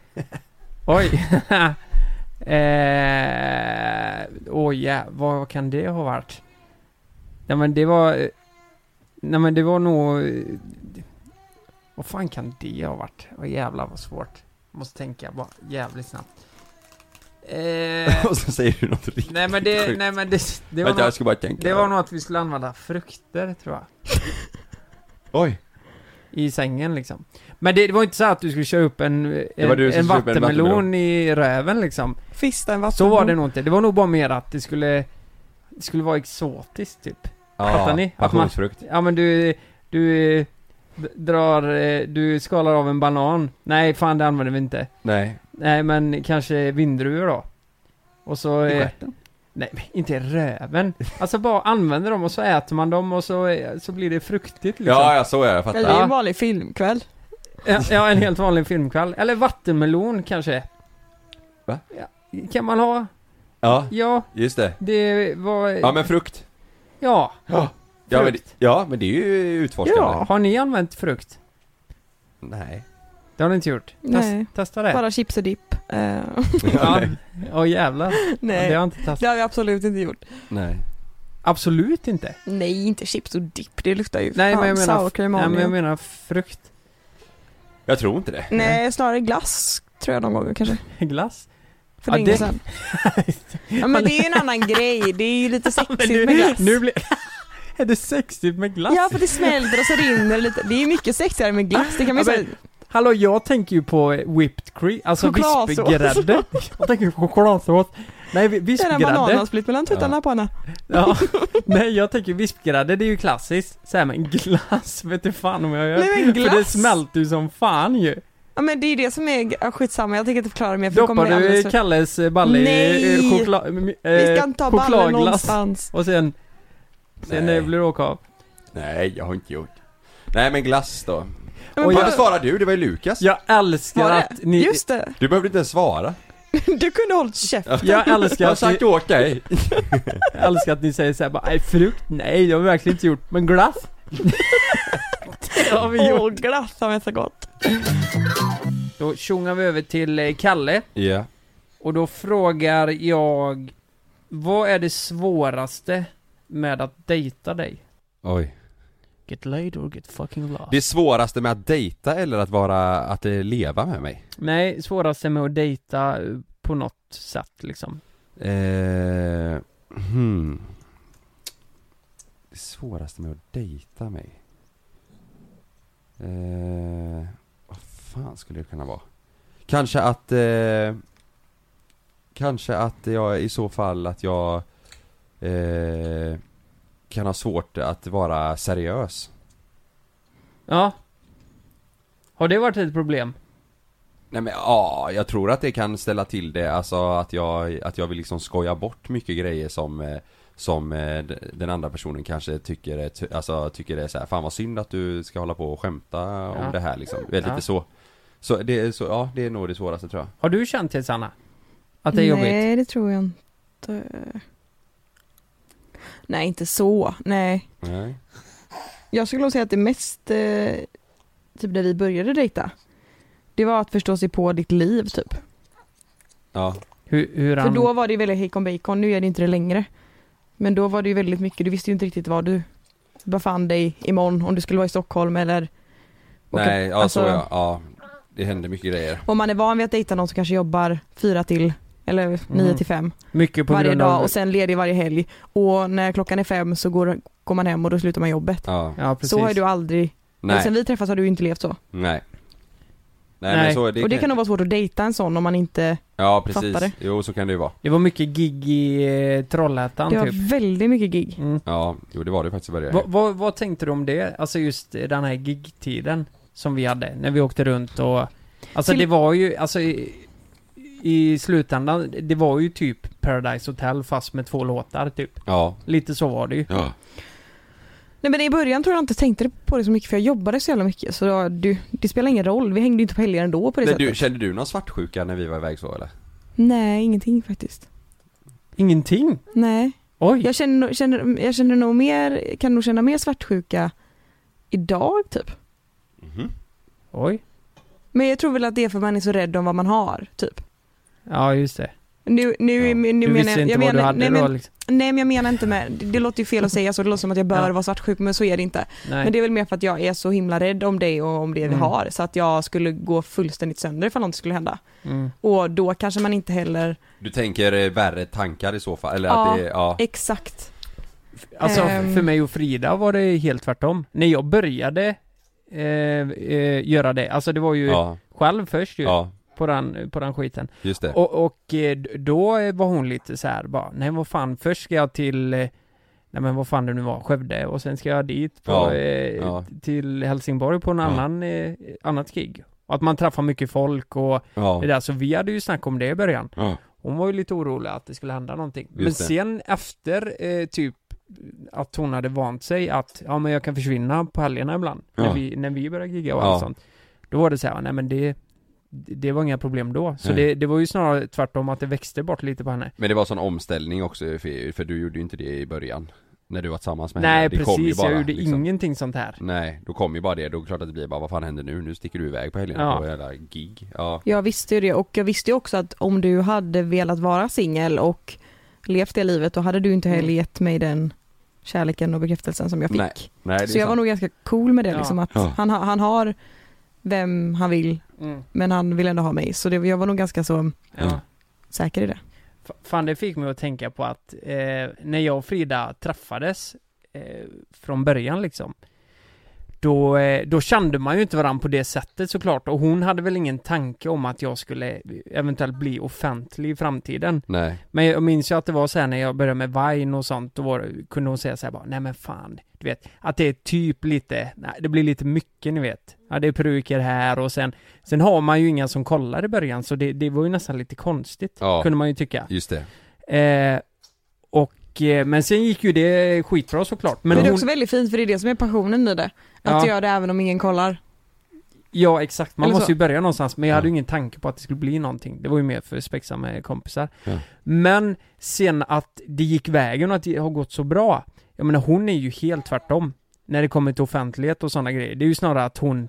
oj. [LAUGHS] eh, oh ja, vad kan det ha varit? Nej men det var... eh, Nej men det var nog... eh, Vad fan kan det ha varit? Vad jävlar vad svårt. Måste tänka bara jävligt snabbt. [LAUGHS] Eh, Och så säger du något riktigt nej men det, sjukt. nej men det, det var Vänta, jag något, ska bara tänka. det var nog att vi skulle använda frukter tror jag. Oj. I sängen liksom. Men det, det var inte så att du skulle köra upp en, var en, du som skulle köpa en en vattenmelon vattenmelon. i röven liksom. Fista en vatten. Så var det nog inte. Det var nog bara mer att det skulle, det skulle vara exotiskt typ. Fattar ni? Att man- Passionsfrukt. Ja men du, du eh, d- drar, eh, du skalar av en banan. Nej fan det använder vi inte. Nej. Nej men kanske vindruvor då. Och så... eh, Nej, men inte i röven. Alltså bara använder dem och så äter man dem och så, eh, så blir det fruktigt liksom. Ja, ja, så är det. Jag Eller det är fattar. ju Ja. en vanlig filmkväll. Ja, ja, en helt vanlig filmkväll. Eller vattenmelon kanske. Va? Ja, kan man ha? Ja, Ja, just det. det var... Ja, men frukt. Ja. Ja. Ja men, Frukt. ja, men det är ju utforskande. [LAUGHS] Ja. Har ni använt frukt? Nej. Det har ni inte gjort? Nej. Test, testa det. Bara chips och dipp. Eh, [LAUGHS] Ja. Åh jävlar. Det har nej, jag inte det testat. har vi absolut inte gjort. Nej. Absolut inte. Nej, inte chips och dipp. Det luktar ju Nej, fan men jag menar... sour cream nej, men jag onion. menar frukt. Jag tror inte det. Nej, snarare glass tror jag någon gång kanske. Glass. För Ja, länge det- sedan. Ja men det är ju [LAUGHS] en annan grej, det är ju lite sexigt nu, med glass. nu blir... [LAUGHS] är det sexigt med glass? Ja för det smälter och så rinner det lite, det är ju mycket sexigare med glass, det kan man ju Ja, säga. Hallå, jag tänker ju på eh, whipped cream, alltså Chokladsås. [LAUGHS] vispgrädde. Jag tänker på chokladsås. Nej, vi- Det är en vispgrädde. bananasplit mellan tuttarna på henne. Ja. Nej, jag tänker vispgrädde, det är ju klassiskt. Såhär, men glass [LAUGHS] vet du fan om jag gör. Nej men För det glass! smälter ju som fan ju. Ja men det är det som är, ja, skitsamma jag tänker inte förklara mer för det kommer Doppar bli du alldeles för... Kalles eh, balle i eh, Nej! chokla- m- Vi eh, ska inte ta ballen chokladglass någonstans. och sen, sen Nej. eh, blir du åka av? Nej, jag har inte gjort. Nej men glass då. Men Och Varför vadå? svarar du? Det var ju Lukas. Jag älskar Var det? att ni... Just det, [LAUGHS] Du behövde inte ens svara. du kunde hållit käften. [LAUGHS] Jag Jag älskar har att ni, sagt åt dig. jag älskar att ni säger såhär bara, nej frukt, nej det har vi verkligen inte gjort, men [LAUGHS] glass? det har vi gjort. Åh glass har jag så gott. Då tjongar vi över till eh, Kalle. Ja. Och då frågar jag, vad är det svåraste med att dejta dig? Oj. Get laid or get fucking lost? Det svåraste med att dejta eller att vara, att eh, leva med mig? Nej, svåraste med att dejta eh, på något sätt liksom. Eh, hmm. Det svåraste med att dejta mig? Eh, vad fan skulle det kunna vara? Kanske att... Eh, kanske att jag i så fall att jag eh, kan ha svårt att vara seriös. Ja. Har det varit ett problem? Nej men ja, jag tror att det kan ställa till det, alltså att jag, att jag vill liksom skoja bort mycket grejer som eh, Som eh, d- den andra personen kanske tycker är, ty- alltså tycker det är så här, fan vad synd att du ska hålla på och skämta om Ja. det här liksom, du vet Ja. lite så Så det är så, ja det är nog det svåraste tror jag Har du känt det Sanna? Att det är jobbigt? Nej det tror jag inte. Nej inte så, nej. Nej Jag skulle nog säga att det mest, eh, typ när vi började dejta, det var att förstå sig på ditt liv typ. Ja, Hur, hur För han... då var det ju väldigt hejkon bacon, nu är det inte det längre. Men då var det ju väldigt mycket, du visste ju inte riktigt var du befann dig imorgon, om du skulle vara i Stockholm eller åka- nej, ja alltså, så ja, ja Det händer mycket grejer Om man är van vid att dejta någon som kanske jobbar fyra till eller nio till fem Mycket på varje grund dag av... och sen ledig varje helg och när klockan är fem så går, går man hem och då slutar man jobbet. Ja, Ja, precis. Så har ju du aldrig, nej, sen vi träffas har du ju inte levt så. nej Nej, Nej. men så, det, och det kan nog vara svårt att dejta en sån om man inte Ja precis, fatta det. jo så kan det ju vara Det var mycket gig i eh, Trollhättan Det var typ. väldigt mycket gig. Mm. Ja, jo det var det faktiskt i början Vad- vad- vad tänkte du om det? Alltså just eh, den här gigtiden som vi hade, när vi åkte runt och... Alltså Till- det var ju, alltså i, i slutändan, det var ju typ Paradise Hotel fast med två låtar typ. Ja, Lite så var det ju. ja Nej men i början tror jag inte tänkte på det så mycket för jag jobbade så jävla mycket så då- du, det spelar ingen roll, vi hängde ju inte på helger ändå på det Nej, sättet. du, kände du någon svartsjuka när vi var iväg så eller? Nej ingenting faktiskt. Ingenting? Nej. Oj! Jag känner, nog- känner, jag känner nog mer, kan nog känna mer svartsjuka idag typ. Oj. Men jag tror väl att det är för man är så rädd om vad man har typ. Ja, just det. Nu, nu, Ja. nu, Du menar visste jag, inte jag vad du menar, hade nej, då men, liksom. nej men jag menar inte med, det, det låter ju fel att säga så, det låter som att jag bör Ja. vara svartsjuk men så är det inte. Nej. Men det är väl mer för att jag är så himla rädd om dig och om det Mm. vi har så att jag skulle gå fullständigt sönder ifall något skulle hända. mm. Och då kanske man inte heller Du tänker eh, värre tankar i så fall, eller Ja. att det, ja Exakt. Alltså, Ehm. för mig och Frida var det helt tvärtom. När jag började eh, eh, göra det, alltså det var ju Ja, själv först ju, ja, på, den, på den skiten. just det Och, och eh, d- då eh, var hon lite så här bara, nej vad fan, först ska jag till, eh, nej men vad fan det nu var, Skövde och sen ska jag dit på, Ja, eh, ja. till Helsingborg på en Ja. annan, eh, annat gig. Och att man träffar mycket folk och Ja, det där, så vi hade ju snack om det i början. Ja. Hon var ju lite orolig att det skulle hända någonting. men det. sen efter, eh, typ, att hon hade vant sig att, ja men jag kan försvinna på helgerna ibland, när, Ja. vi, när vi började gigga och Ja. allt sånt. Då var det så här, nej men det, det var inga problem då. Så Nej. det, det var ju snarare tvärtom att det växte bort lite på henne. men det var sån omställning också för, för du gjorde ju inte det i början När du var tillsammans med henne, nej det kom ju precis, bara jag gjorde liksom. ingenting sånt här. Nej, då kom ju bara det, då är det klart att det blir bara vad fan händer nu? Nu sticker du iväg på helgen Ja. på jävla gig Ja, Jag visste ju det och jag visste ju också att om du hade velat vara singel och levt det livet då hade du inte heller Mm. gett mig den kärleken och bekräftelsen som jag fick. Nej, nej det är Så jag var sant. nog ganska cool med det Ja. liksom att Ja. han, ha- han har vem han vill Mm. men han vill ändå ha mig så det, jag var nog ganska så Ja. Ja. säker i det. F- Fan det fick mig att tänka på att eh, när jag och Frida träffades eh, från början liksom då, eh, då kände man ju inte varandra på det sättet såklart och hon hade väl ingen tanke om att jag skulle eventuellt bli offentlig i framtiden. Nej, Men jag minns ju att det var så här när jag började med Vine och sånt, då var, det- kunde hon säga så här bara, nej men fan, du vet, att det är typ lite, nej det blir lite mycket ni vet. Ja, det är peruker här och sen Sen har man ju inga som kollar i början så det, det var ju nästan lite konstigt Ja. Kunde man ju tycka Just det. eh, Och eh, Men sen gick ju det skitbra såklart Men, Men det är hon, också väldigt fint för det är det som är passionen i det. Att Ja. göra det även om ingen kollar. Ja exakt, man Eller måste så. ju börja någonstans men jag hade Ja. ju ingen tanke på att det skulle bli någonting Det var ju mer för spexsamma kompisar Ja. Men sen att det gick vägen och att det har gått så bra Jag menar hon är ju helt tvärtom När det kommer till offentlighet och sådana grejer Det är ju snarare att hon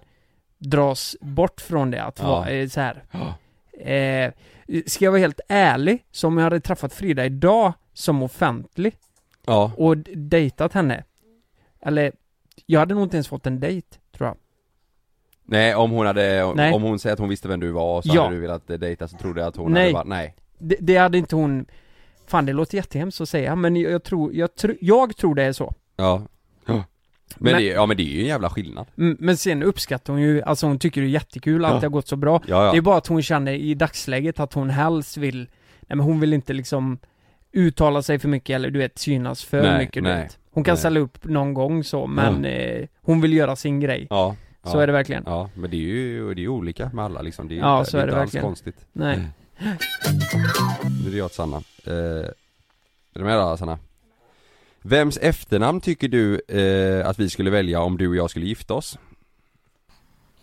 dras bort från det, att Ja. vara eh, så här. Ja. Eh, ska jag vara helt ärlig, så om jag hade träffat Frida idag som offentlig Ja. och d- dejtat henne Eller, jag hade nog inte ens fått en dejt, tror jag Nej om hon hade, Nej. om hon säger att hon visste vem du var så Ja. hade du velat eh, dejta så trodde jag att hon Nej. hade varit, nej. det, det hade inte hon Fan det låter jättehemskt att säga men jag, jag tror, jag, tr jag tror det är så Ja. Ja. Men, Men- det, ja men det är ju en jävla skillnad. Mm, Men sen uppskattar hon ju, alltså hon tycker det är jättekul att Ja. det har gått så bra Ja ja. Det är bara att hon känner i dagsläget att hon helst vill Nej men hon vill inte liksom uttala sig för mycket eller du vet synas för Nej, mycket nej, du vet. Hon kan nej. ställa upp någon gång så men eh, hon vill göra sin grej ja. ja. Så är det verkligen Ja, men det är ju, det är ju olika med alla liksom. Det är ju Ja, inte, så det är är det inte verkligen. alls konstigt. Nej Nu är det jag till Sanna. Eh, är du med då Sanna? Vems efternamn tycker du eh, att vi skulle välja om du och jag skulle gifta oss?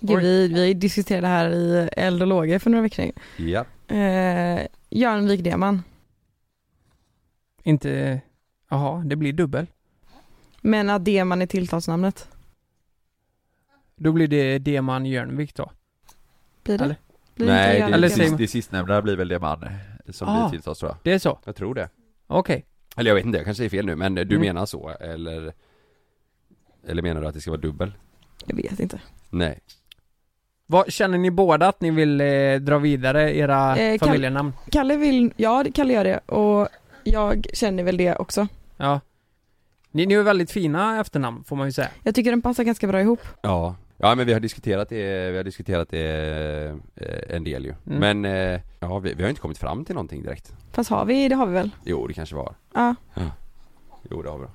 Gud, vi, vi diskuterade det här i Eld och lågor för några veckor sedan. Ja. Eh, Jörnvik Deman. Inte Jaha, det blir dubbel Men att Deman är tilltalsnamnet. Då blir det Deman Jörnvik då Blir det? Eller? Blir Nej, det, inte det, Eller Jörnvik Deman? sist, det sistnämnda blir väl det man som Ah. blir tilltalad tror jag. Det är så? Jag tror det. Okej Eller jag vet inte, jag kanske säger fel nu men du Mm. menar så eller? Eller menar du att det ska vara dubbel? Jag vet inte. Nej. Vad, känner ni båda att ni vill eh, dra vidare era Eh, kan- familjenamn? Kalle vill, ja det- Kalle gör det och jag känner väl det också. Ja. Ni, ni är väldigt fina efternamn får man ju säga. Jag tycker den passar ganska bra ihop. Ja. Ja men vi har diskuterat det, vi har diskuterat det eh, en del ju. Mm. Men, eh, ja vi, vi har inte kommit fram till någonting direkt. Fast har vi, det har vi väl? Jo det kanske var. Ja. Jo det har vi då.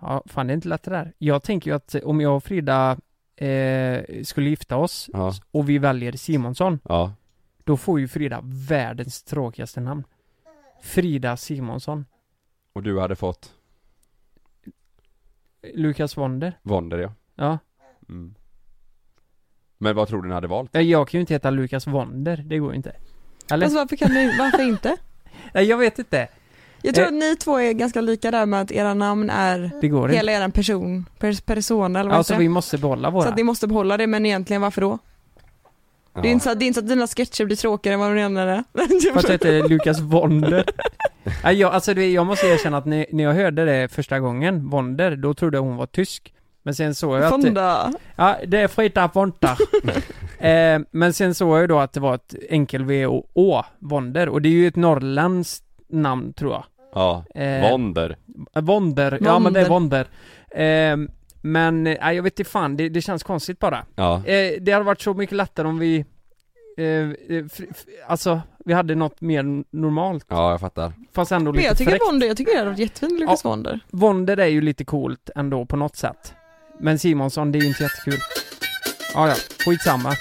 Ja, fan det är inte lätt det där. Jag tänker ju att eh, om jag och Frida eh, skulle gifta oss Ja. och vi väljer Simonsson, Ja. då får ju Frida världens tråkigaste namn. Frida Simonsson. Och du hade fått Lukas Wonder. Wonder ja. Ja. Mm. Men vad tror du ni hade valt? Nej, Eh, Jag kan ju inte heta Lukas Wonder, det går ju inte. Eller? Alltså varför kan ni, varför inte? Nej, jag vet inte. Jag tror Eh. att ni två är ganska lika där med att era namn är Det går inte. hela er person, pers, persona eller vad Alltså heter det? vi måste behålla Så våra. att ni måste behålla det, men egentligen varför då? Det, är inte så, att- det är inte så att dina sketcher blir tråkigare än vad de redan är. [LAUGHS] Typ. Fast jag heter Lukas Wonder. [LAUGHS] Nej, jag, alltså det, jag måste erkänna att när, när jag hörde det första gången, Wonder, då trodde jag hon var tysk. Men sen såg jag att... Fonda. Ja, det är Frida [LAUGHS] Wonder. eh, men sen såg jag ju då att det var ett enkel V och Å, Wonder. Och det är ju ett norrländskt namn tror jag. Ja. Eh, Wonder. Wonder, ja men det är Wonder. Wonder. Eh, men, eh, jag vet inte fan, det, det känns konstigt bara. Ja. Eh, det hade varit så mycket lättare om vi, eh, eh, fri, f- alltså, vi hade något mer normalt. Ja jag fattar. Fast ändå Men lite jag tycker fräckt. Wonder, jag tycker det hade varit jättefint Lukas Wonder. Wonder är ju lite coolt ändå på något sätt. Men Simonsson, det är ju inte jättekul. Ja, ja, skitsamma.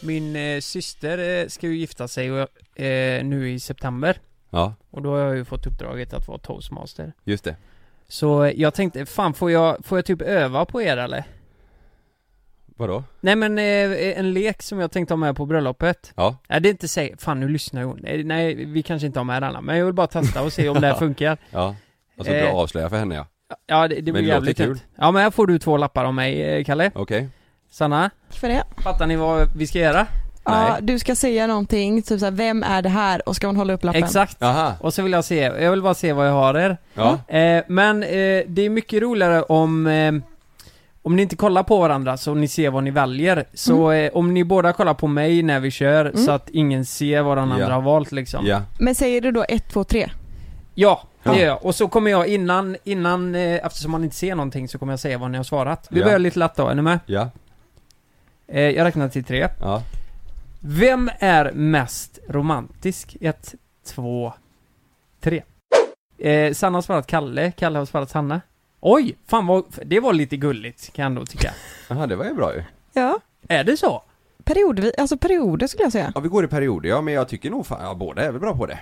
Min eh, syster eh, ska ju gifta sig och, eh, nu i september. Ja. Och då har jag ju fått uppdraget att vara toastmaster. Just det. Så eh, jag tänkte, fan får jag, får jag typ öva på er eller? Vadå? Nej men eh, en lek som jag tänkte ha med på bröllopet. Ja. Nej det är inte säkert, fan nu lyssnar hon. Nej, nej vi kanske inte har med denna, men jag vill bara testa och se om det här funkar. Ja. Alltså inte Eh. avslöja för henne ja. Ja det, Men det blir det låter jävligt kul. kul. Ja men här får du två lappar av mig eh, Kalle. Okej. Sanna, Tack för det. fattar ni vad vi ska göra? Ja, Nej. du ska säga någonting, typ såhär, vem är det här? Och ska man hålla upp lappen? Exakt. Aha. Och så vill jag se, jag vill bara se vad jag har er. Ja. Eh, men eh, det är mycket roligare om eh, om ni inte kollar på varandra så ni ser vad ni väljer. Så eh, om ni båda kollar på mig när vi kör så att ingen ser vad den Ja. andra har valt liksom. Ja. Men säger du då 1, 2, 3? Ja, det Ja. gör jag. Och så kommer jag innan, innan, eh, eftersom man inte ser någonting så kommer jag säga vad ni har svarat. Vi Ja. börjar lite lätt då, är ni med? Ja. Eh, jag räknar till tre. Ja. Vem är mest romantisk? Ett, två, tre. Eh, Sanna har svarat Kalle, Kalle har svarat Sanna. Oj, fan vad, det var lite gulligt kan jag ändå tycka. Jaha, det var ju bra ju. Ja, Är det så? periodvis, alltså perioder skulle jag säga. Ja, vi går i perioder ja, men jag tycker nog fan, ja, båda är väl bra på det.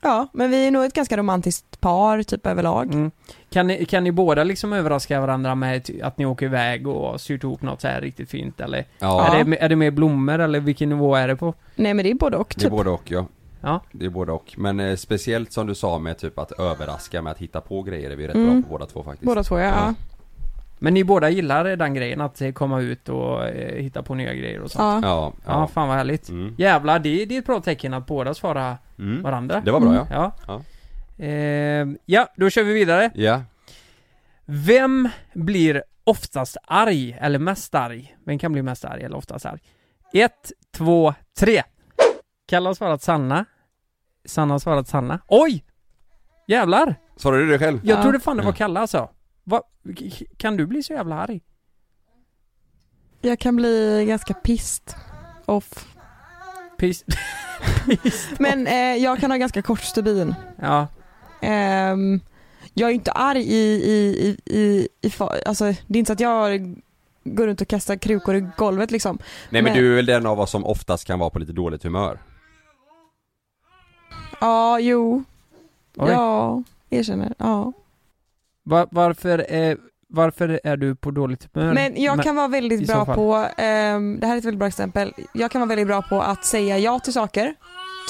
Ja, men vi är nog ett ganska romantiskt par typ överlag. Mm. Kan, ni, kan ni båda liksom överraska varandra med ty- att ni åker iväg och syr ihop något så här riktigt fint eller? Ja, Är, det, är det mer blommor eller vilken nivå är det på? Nej men det är både och det är typ. både och ja. Ja. Det är både och. Men eh, speciellt som du sa med typ att överraska med att hitta på grejer är vi rätt Mm. bra på båda två faktiskt. Båda två ja. Ja. ja. Men ni båda gillar den grejen att eh, komma ut och eh, hitta på nya grejer och sånt? ja. Ja, Ja, ja. fan vad härligt. Mm. Jävlar, det, det är ett bra tecken att båda svarar Mm. varandra. Det var bra ja. Ja. Eh, ja, då kör vi vidare. Ja. Vem blir oftast arg eller mest arg? Vem kan bli mest arg eller oftast arg? 1, 2, 3. Kalle har svarat Sanna. Sanna har svarat Sanna. Oj! Jävlar! Svarade du det själv? Jag Ja. trodde fan det var Ja. Kalle alltså. Va? Kan du bli så jävla arg? Jag kan bli ganska pissed off. Pis. Men eh, jag kan ha ganska kort stubin. [LAUGHS] Ja. Ehm, jag är ju inte arg i, i, i, i, i fa- alltså det är inte så att jag går runt och kastar krukor i golvet liksom. Nej men Nej. du är väl den av oss som oftast kan vara på lite dåligt humör? Ja, jo, Oj. ja, erkänner, ja. Va- varför, eh, varför är du på dåligt humör? Men jag kan vara i väldigt så bra fall. på, ehm, det här är ett väldigt bra exempel, jag kan vara väldigt bra på att säga ja till saker.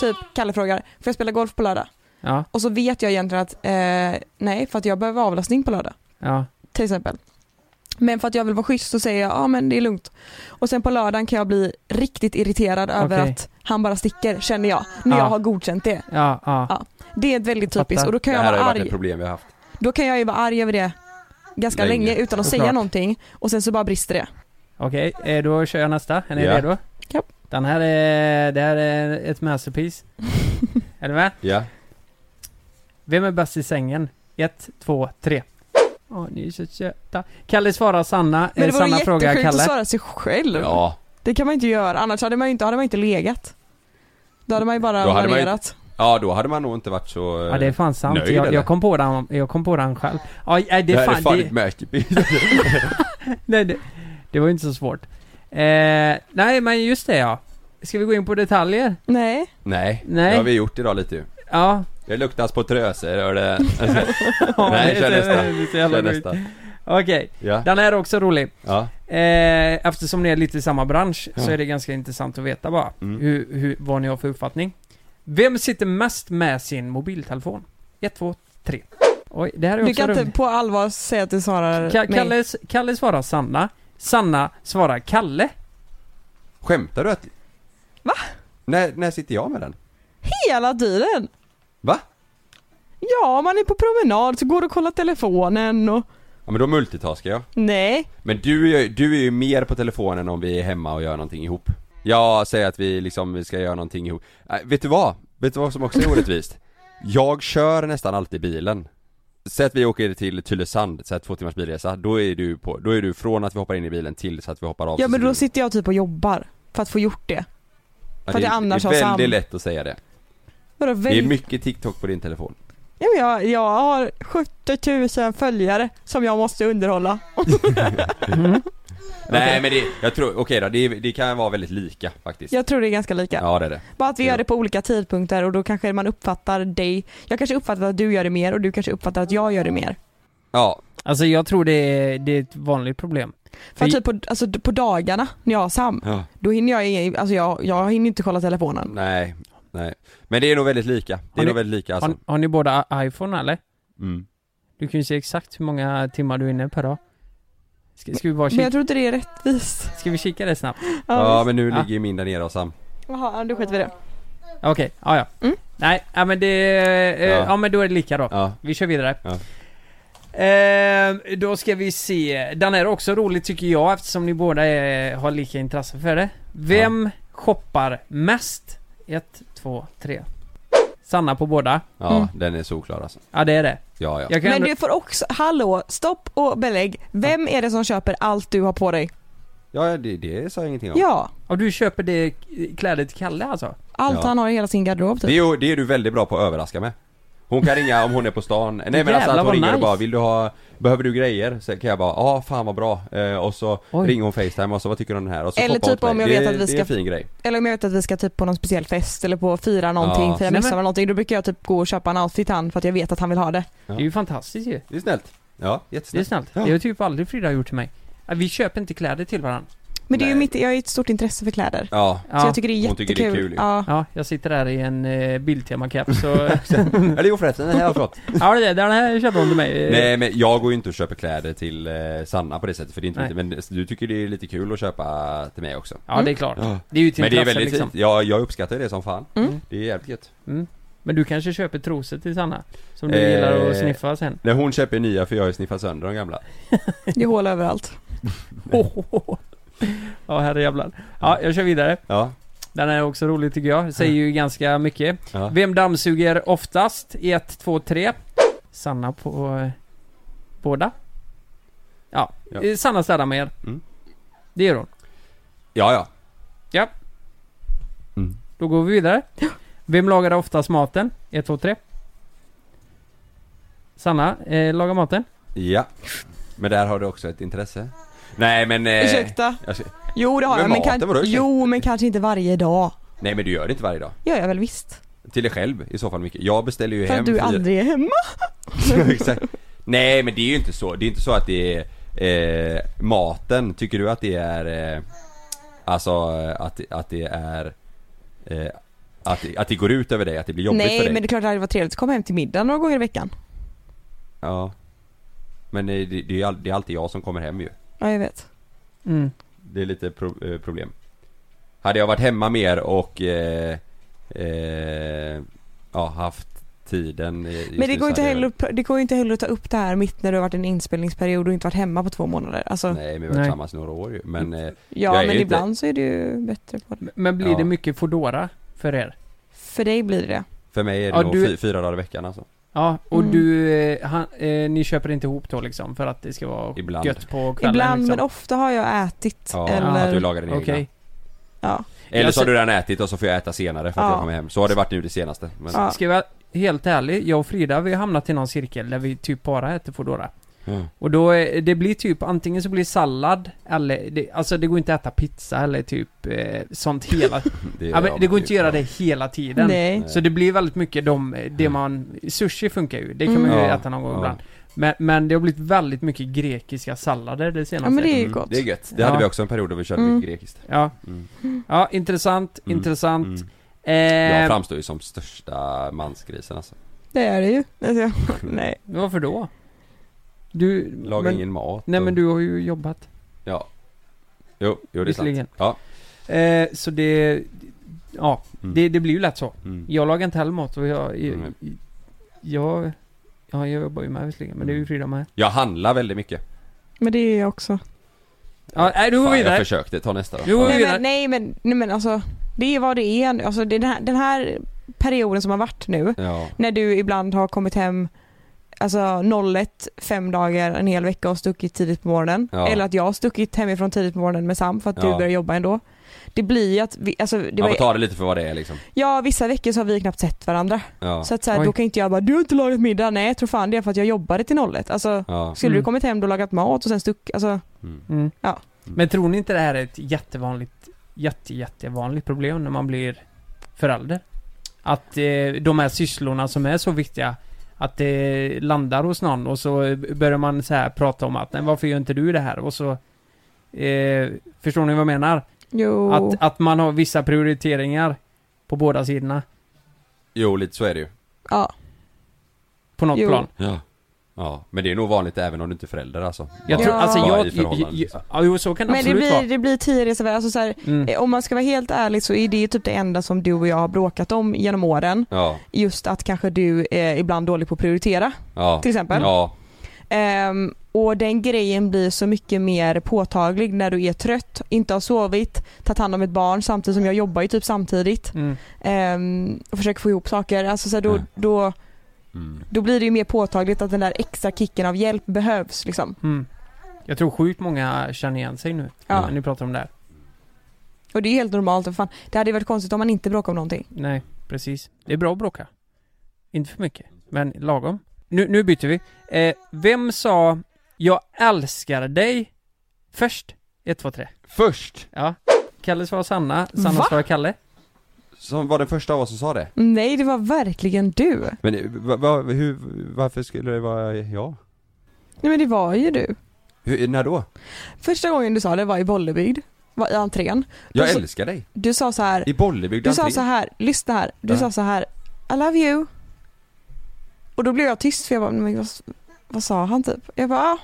Typ Kalle frågar, får jag spela golf på lördag? Ja, Och så vet jag egentligen att eh, nej, för att jag behöver avlastning på lördag. ja. till exempel. Men för att jag vill vara schysst så säger jag, ja ah, men det är lugnt. Och sen på lördagen kan jag bli riktigt irriterad över Okej. att han bara sticker, känner jag. När Ja. jag har godkänt det. Ja, ja. Ja. Det är ett väldigt Jag typiskt fattar. och då kan det jag här vara har ju varit arg. ett problem vi har haft. Då kan jag ju vara arg över det ganska Länge. länge, utan att Såklart. säga någonting och sen så bara brister det. Okej, eh, då kör jag nästa. Är ni Ja. redo? Ja. Den här är, det här är ett [LAUGHS] masterpiece. är du med? Ja. Vem är bäst i sängen? Ett, två, tre. Åh, ni är så söta. Kalle svarar Sanna. Men Eh, det vore Sanna frågar jättesjukt att Kalle. svara sig själv. Ja. Det kan man inte göra, annars hade man ju inte, hade man inte legat. Då hade man ju bara Då hade man ju- varierat. Ja, då hade man nog inte varit så... eh, Ja, det är fan sant. Nöjd, Jag, eller? jag, kom på den, jag kom på den själv. Ja, nej, eh, det är fan, det, ett märkebild. nej, det, det var ju inte så svårt. Eh, nej, men just det ja. Ska vi gå in på detaljer? Nej. [LAUGHS] Nej, Nej. det har vi gjort idag lite ju. Ja. Det luktas på tröser, hör det. [LAUGHS] Ja, Nej, kör [LAUGHS] det- nästa. det är så jävla Kör sjukt. nästa. Okej, Ja. den här är också rolig. Ja. Eh, eftersom ni är lite i samma bransch så Ja. är det ganska intressant att veta bara Mm. hur, hur, vad ni har för uppfattning. Vem sitter mest med sin mobiltelefon? 1, 2, 3. Oj, det här är Du också kan inte roligt. på allvar säga att du svarar Ka- nej. Kalle, s- Kalle svarar Sanna. Sanna svarar Kalle. Skämtar du att... Va? När, när sitter jag med den? Hela tiden! Va? Ja, man är på promenad så går du och kollar telefonen och Ja men då multitaskar jag. nej. Men du, är ju- du är ju mer på telefonen om vi är hemma och gör någonting ihop. Jag säger att vi liksom, vi ska göra någonting ihop. Äh, vet du vad? Vet du vad som också är orättvist? [LAUGHS] Jag kör nästan alltid bilen. Säg att vi åker till Tylösand, så här två timmars bilresa, då är du på, då är du från att vi hoppar in i bilen till så att vi hoppar av Ja så men sitter då du- sitter jag typ och jobbar för att få gjort det. Ja, för att det- jag annars har Det är sam- väldigt lätt att säga det. Vadå, Det är väl... mycket TikTok på din telefon. ja, men jag, jag har 70 000 följare som jag måste underhålla. Nej men det, jag tror, okej då, det, det kan vara väldigt lika faktiskt. Jag tror det är ganska lika. Ja det är det. Bara att vi Ja. gör det på olika tidpunkter och då kanske man uppfattar dig. Jag kanske uppfattar att du gör det mer och du kanske uppfattar att jag gör det mer. Ja, Alltså jag tror det är, det är ett vanligt problem. För Vi- att typ på, alltså, på dagarna när jag har Sam, Ja. då hinner jag, ingen- alltså jag, jag hinner inte kolla telefonen. nej, nej. Men det är nog väldigt lika, det Har är ni- nog väldigt lika Har, alltså. har ni båda i- iPhone eller? Mm. Du kan ju se exakt hur många timmar du är inne per dag. Ska, ska vi bara Men kika, jag tror inte det är rättvist. ska vi kika det snabbt? Ja men nu Ja. ligger ju min där nere alltså. och Sam. Jaha, du skiter vi i det. Okej, ja ja. Mm. Nej, ja, men det... Eh, ja. Ja. men då är det lika då. Ja. Vi kör vidare. Ja. Eh, då ska vi se. Den är också rolig tycker jag eftersom ni båda är, har lika intresse för det. Vem shoppar mest? Ett, två, tre. Sanna på båda. Ja, Mm. den är solklar alltså. Ja det är det. Ja, ja. Jag kan Men ändå... du får också, hallå, stopp och belägg. Vem är det som köper allt du har på dig? Ja, det, det sa jag ingenting om. Ja, Och du köper det kläder till Kalle alltså? allt Ja. han har i hela sin garderob Det, är, typ. ju- det är du väldigt bra på att överraska med. Hon kan ringa om hon är på [LAUGHS] stan. Nej men alltså Jävlar, att hon vad ringer och nice. bara 'Vill du ha, behöver du grejer?' Så kan jag bara 'Ja, fan vad bra' eh, och så Oj. ringer hon Facetime och så 'Vad tycker du om den här?' Och så Eller poppar hon typ till om mig. jag det, vet att vi Det är en ska- fin grej. Eller om jag vet att vi ska typ på någon speciell fest eller på att fira någonting Ja. för jag Nej, missar men- väl någonting. Då brukar jag typ gå och köpa en outfit till han för att jag vet att han vill ha det. Det är ju fantastiskt ju. Det är snällt. Ja, Det är jättesnällt. snällt. Ja. Det har typ aldrig Frida gjort till mig. Äh, Vi köper inte kläder till varandra. Men det är ju Nej. mitt, jag har ju ett stort intresse för kläder. Ja. Så Ja, jag tycker det är Hon jättekul. tycker det är kul ju. ja. ja jag sitter här i en eh, Biltema-keps och... Mm. Eller jo förresten, den här var flott. [LAUGHS] ja, det, den här köpte hon till mig. Nej men jag går ju inte och köper kläder till eh, Sanna på det sättet för det är inte Nej. mitt, men det- du tycker det är lite kul att köpa till mig också. Ja, det är klart. Ja. Det är ju ett Men det är intresse väldigt liksom. fint. Jag, jag uppskattar det som fan. Mm. Det är jävligt gött. Men du kanske köper trosor till Sanna? Som du Eh, gillar att sniffa sen? [LAUGHS] Nej hon köper nya för jag har ju sniffat sönder de gamla. Det är hål överallt. Ja, herrejävlar. Ja, jag kör vidare. Ja. Den är också rolig tycker jag. Säger ju ganska mycket. ja. Vem dammsuger oftast? 1, 2, 3. Sanna på eh, båda. Ja, Ja. Eh, Sanna städar mer. Mm. Det gör hon. Ja ja. Då går vi vidare. Vem lagar oftast maten? 1, 2, 3. Sanna eh, lagar maten. Ja. Men där har du också ett intresse. Nej men... Eh, Ursäkta? jag ska- Jo det har Men jag men, maten, kan... vadå, ursäkta? jo, men kanske inte varje dag. nej men du gör det inte varje dag. gör jag väl visst. Till dig själv i så fall mycket. Jag beställer ju För hem att du fyra- [LAUGHS] aldrig är hemma. Exakt. Nej men det är ju inte så. Det är inte så att det är eh, maten. Tycker du att det är eh, alltså eh, att, att det är eh, att, det- att det går ut över dig? Att det blir jobbigt Nej för dig? men det är klart det hade varit trevligt att komma hem till middag några gånger i veckan. Ja. Men eh, det, det, är all, det är alltid jag som kommer hem ju. Ja jag vet. Mm. Det är lite pro, eh, problem. Hade jag varit hemma mer och eh, eh, ja, haft tiden eh, just Men det nu går, så inte hade jag heller, upp- det går ju inte heller att ta upp det här mitt när du har varit i en inspelningsperiod och inte varit hemma på två månader. Alltså, väl- Nej men vi har varit Nej. tillsammans några år ju. Men eh, ja jag är men inte- ibland så är det ju bättre på det. Men blir Ja. det mycket Foodora för er? För dig blir det det. för mig är det Ja, nog du- fy, fyra dagar i veckan alltså. Ja, och Mm. du, eh, han, eh, ni köper inte ihop då liksom för att det ska vara Ibland. gött på kvällen ibland liksom. men ofta har jag ätit. Ja, eller, att du lagar din Okej. egna. ja. Eller Jag så har ser- du redan ätit och så får jag äta senare för att Ja. jag kommer hem. Så har det varit nu det senaste. Men, Ja. Ska jag vara helt ärlig, jag och Frida vi har hamnat i någon cirkel där vi typ bara äter Foodora. Mm. Och då, eh, det blir typ antingen så blir det sallad eller, det, alltså det går inte att äta pizza eller typ eh, [LAUGHS] sånt hela... det, ja, men det går inte att göra det hela tiden. Nej. Så det blir väldigt mycket de, det man, sushi funkar ju, det kan man Mm. ju Ja, äta någon gång Mm. ja. ibland. Men, men det har blivit väldigt mycket grekiska sallader det senaste. ja men det är ju Mm, gott. Det är gött. Det hade Ja. vi också en period då vi körde Mm. mycket grekiskt. Ja, Mm. ja intressant, Mm. intressant. Mm. Eh, Jag framstår ju som största mansgrisen [LAUGHS] alltså. Det är det ju. Alltså, Mm. nej. Varför då? Du... Lagar men, ingen mat. Nej och- men du har ju jobbat. Ja. Jo, jo det är Visserligen. sant. Ja. Eh, så det... Ja, Mm. det, det blir ju lätt så. Mm. Jag lagar inte heller mat och jag... Jag... Mm. jag ja, jag jobbar ju med visserligen, men det är Mm. ju Frida med. Jag handlar väldigt mycket. Men det är jag också. Ja, nej, du går Fan, jag vidare. försökte. Ta nästa då. Du går Nej vidare. men, nej, men, nej, men alltså. Det är vad det är. nu. Alltså, det är den, här, den här perioden som har varit nu. Ja. När du ibland har kommit hem alltså 01 fem dagar en hel vecka och stuckit tidigt på morgonen. Ja. Eller att jag har stuckit hemifrån tidigt på morgonen med Sam för att du Ja. börjar jobba ändå. Det blir ju att, vi, alltså, det Man var, får ta det lite för vad det är liksom. ja vissa veckor så har vi knappt sett varandra. Ja. Så att så här, Oj. då kan inte jag bara, du har inte lagat middag, nej jag tror fan det är för att jag jobbade till 01. Alltså, Ja. skulle Mm. du kommit hem då och lagat mat och sen stuck, alltså Mm. Mm. Ja. Men tror ni inte det här är ett jättevanligt, jätte, jättevanligt problem när man blir förälder? Att eh, de här sysslorna som är så viktiga, att det landar hos någon och så börjar man så här prata om att nej, varför gör inte du det här? Och så eh, Förstår ni vad jag menar? jo. Att, att man har vissa prioriteringar på båda sidorna Jo, lite så är det ju. ja. på något Jo. plan. Ja. Ja, men det är nog vanligt även om du inte är förälder alltså. Jag Bara- tror, alltså bara jag, i jag, förhållanden, jag, liksom. ja, jo, så kan det Men det absolut blir, vara. det blir tio resor, alltså så här, Mm. eh, om man ska vara helt ärlig så är det ju typ det enda som du och jag har bråkat om genom åren. Ja, Just att kanske du är ibland dålig på att prioritera ja. till exempel. Ja, Ehm, och den grejen blir så mycket mer påtaglig när du är trött, inte har sovit, tagit hand om ett barn samtidigt som jag jobbar ju typ samtidigt Mm. ehm, och försöker få ihop saker. Alltså så här, då, Mm. då, mm. då blir det ju mer påtagligt att den där extra kicken av hjälp behövs liksom. Mm. Jag tror sjukt många känner igen sig nu, Ja. när ni pratar om det här. Och det är ju helt normalt, och fan, det hade ju varit konstigt om man inte bråkade om någonting. Nej, precis. Det är bra att bråka. Inte för mycket. men lagom. Nu, nu byter vi. Eh, vem sa 'Jag älskar dig' först? 1, 2, 3. Först! Ja. Kalle svarar Sanna, Sanna Va? svarar Kalle. Som var den första av oss som sa det. Nej, det var verkligen du. Men eh, va, va, hur, varför skulle det vara jag? Nej men det var ju du. Hur, när då? Första gången du sa det var i Bollebygd, var i entrén. Jag Alltså- älskar dig! Du sa så här, I Bollebygd du sa entré. så här, lyssna här, du Ja. sa så här, I love you. Och då blev jag tyst för jag bara, men vad, vad sa han typ? Jag bara, ah,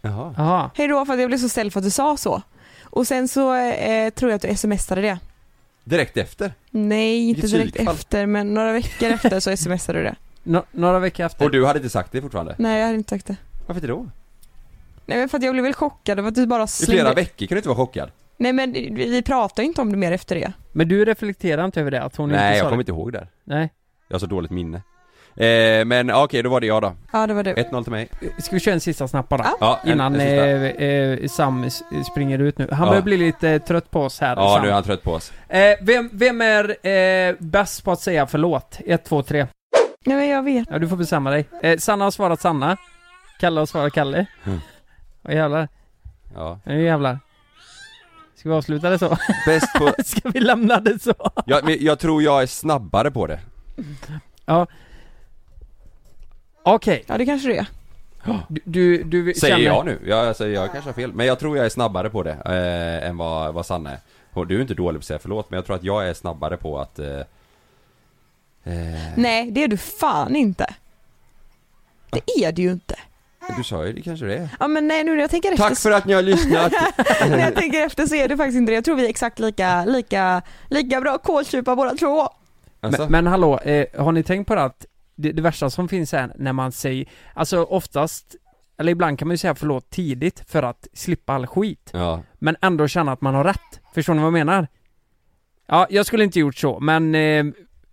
Jaha. Jaha. hej då för att jag blev så ställd för att du sa så. Och sen så eh, tror jag att du smsade det. Direkt efter. Nej, inte Vilket direkt psykfall. efter men några veckor efter så smsade du det. Nå- några veckor efter. Och du hade inte sagt det fortfarande? Nej jag hade inte sagt det. Varför inte då? Nej men för att jag blev väl chockad över att du bara I flera slängde. veckor kunde du inte vara chockad? Nej men vi vi pratade ju inte om det mer efter det. Men du reflekterar inte över det? Att hon Nej, inte jag sa kommer det? inte ihåg där. Nej. Jag har så dåligt minne. Eh, men ja, okej, då var det jag då. Ja det var du. 1-0 till mig. Ska vi köra en sista snabb bara? Ja, en- Innan en sista. eh, eh, Sam s- springer ut nu. Han Ja. börjar bli lite eh, trött på oss här. Ja, Sam. nu är han trött på oss. eh, vem, vem är eh, bäst på att säga förlåt? 1, 2, 3. Nej men jag vet. Ja, du får bestämma dig. Eh, Sanna har svarat Sanna. Kalle har svarat Kalle. Mm. Åh jävlar. Ja. Nu jävlar. Ska vi avsluta det så? [LAUGHS] Bäst på... Ska vi lämna det så? Ja, men jag tror jag är snabbare på det. Okej. Ja det kanske du är. Du, du, du Säger känner... jag nu. Jag, alltså, jag kanske har fel. Men jag tror jag är snabbare på det eh, än vad, vad Sanna är. Och Du är inte dålig på att säga förlåt, men jag tror att jag är snabbare på att... Eh, eh, Nej det är du fan inte. Det är du ju inte. Du sa ju det kanske det är. Ja men nej nu när jag tänker efter Tack för att ni har [LAUGHS] lyssnat! så, [LAUGHS] när jag tänker efter så är du faktiskt inte det. Jag tror vi är exakt lika, lika, lika bra kåltjupar båda två. Alltså, Men, men hallå, eh, har ni tänkt på det att det, det värsta som finns är när man säger, alltså oftast, eller ibland kan man ju säga förlåt tidigt för att slippa all skit, ja. men ändå känna att man har rätt. Förstår ni vad jag menar? Ja, jag skulle inte gjort så, men, eh,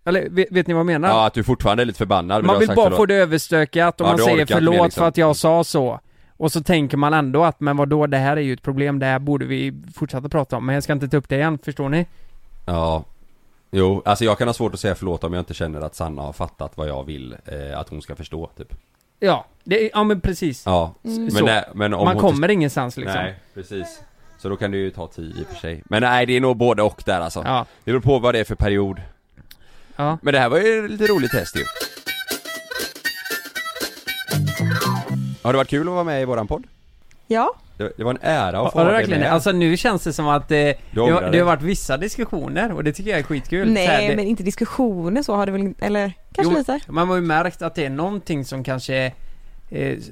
eller vet, vet ni vad jag menar? ja, att du fortfarande är lite förbannad men du man har vill sagt bara förlåt. få det överstökat och Ja, man du säger orkar inte mer, förlåt liksom. för att jag sa så. Och så tänker man ändå att, men då det här är ju ett problem, det här borde vi fortsätta prata om, men jag ska inte ta upp det igen, förstår ni? Ja Jo, alltså jag kan ha svårt att säga förlåt om jag inte känner att Sanna har fattat vad jag vill eh, att hon ska förstå typ Ja, det, ja men precis. Ja, men, Mm. Så. nej, men om man hon inte- kommer ingenstans liksom. Nej, precis Så då kan det ju ta tid i och för sig Men nej, det är nog både och där alltså Ja. Det beror på vad det är för period Ja. Men det här var ju lite roligt test ju Har det varit kul att vara med i våran podd? Ja, Det, det var en ära att få Har du vara verkligen det? med Alltså nu känns det som att eh, det, ångrar har, det dig. har varit vissa diskussioner och det tycker jag är skitkul. Så här, nej det, men inte diskussioner så har det väl inte, eller kanske Jo, lite. Man har ju märkt att det är någonting som kanske eh,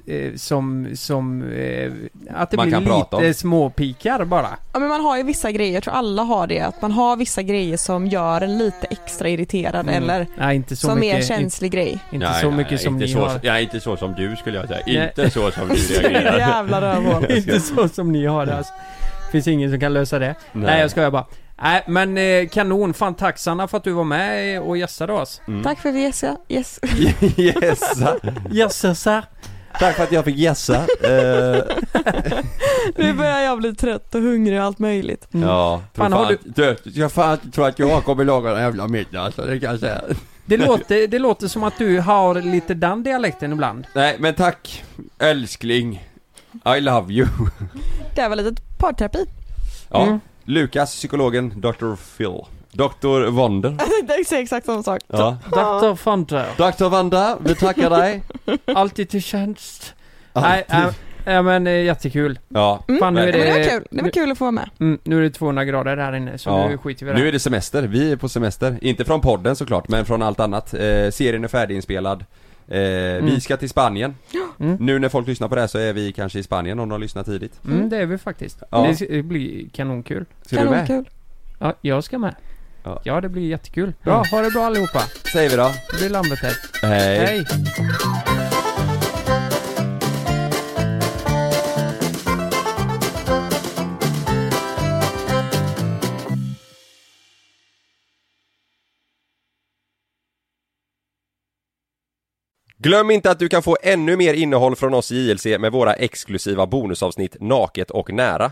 eh, som, som, eh, att det Man blir kan prata lite om. småpikar bara. Ja men man har ju vissa grejer, jag tror alla har det, att man har vissa grejer som gör en lite extra irriterad Mm. eller Nej, inte så som är en mycket. känslig grej. Inte, inte så mycket som inte ni så, [LAUGHS] har. Ja, inte så som du skulle jag säga, Nej. inte så [LAUGHS] som du reagerar Jävla rövhål. inte så som ni har det alltså. Finns ingen som kan lösa det. Nej, jag skojar bara. Nej men eh, kanon, fan tack Sanna för att du var med eh, och gästade oss. Mm. Tack för att vi gästade. Yes. Gässa! Gästade? Tack för att jag fick [LAUGHS] gässa Eh, Nu börjar jag bli trött och hungrig och allt möjligt. Ja, Mm. Fan, har du... jag fan inte tror att jag kommer laga den jävla middagen alltså, det kan jag säga. Det låter, det låter som att du har lite den dialekten ibland. Nej men tack, älskling. I love you. Det här var lite [LAUGHS] parterapi. Ja, Mm. Lukas, psykologen, Dr. Phil. Dr. Wonder. Jag tänkte säga exakt samma sak. [LAUGHS] Ja. Dr. Fonter, Dr. Wanda, vi tackar dig. alltid till tjänst. Nej, äh, äh, men äh, jättekul. Ja. Mm. Fan, nu är Men det var Eh, kul, det var nu- kul att få vara med. Mm, nu är det 200 grader här inne, så Ja. nu skiter vi i det. Nu är här. det semester, vi är på semester. Inte från podden såklart, men från allt annat. Eh, serien är färdiginspelad. Eh, Vi ska till [GASPS] Spanien. Mm. Nu när folk lyssnar på det här så är vi kanske i Spanien om de lyssnar tidigt. Mm, det är vi faktiskt. Ja. Det ska- Det blir kanonkul. Ska du med? Kanonkul. Ja, jag ska med. Ja. Ja, det blir jättekul. Bra, ha det bra allihopa. Säger vi då. Det blir Lambert här. Hej. Hej. Glöm inte att du kan få ännu mer innehåll från oss i JLC med våra exklusiva bonusavsnitt Naket och nära.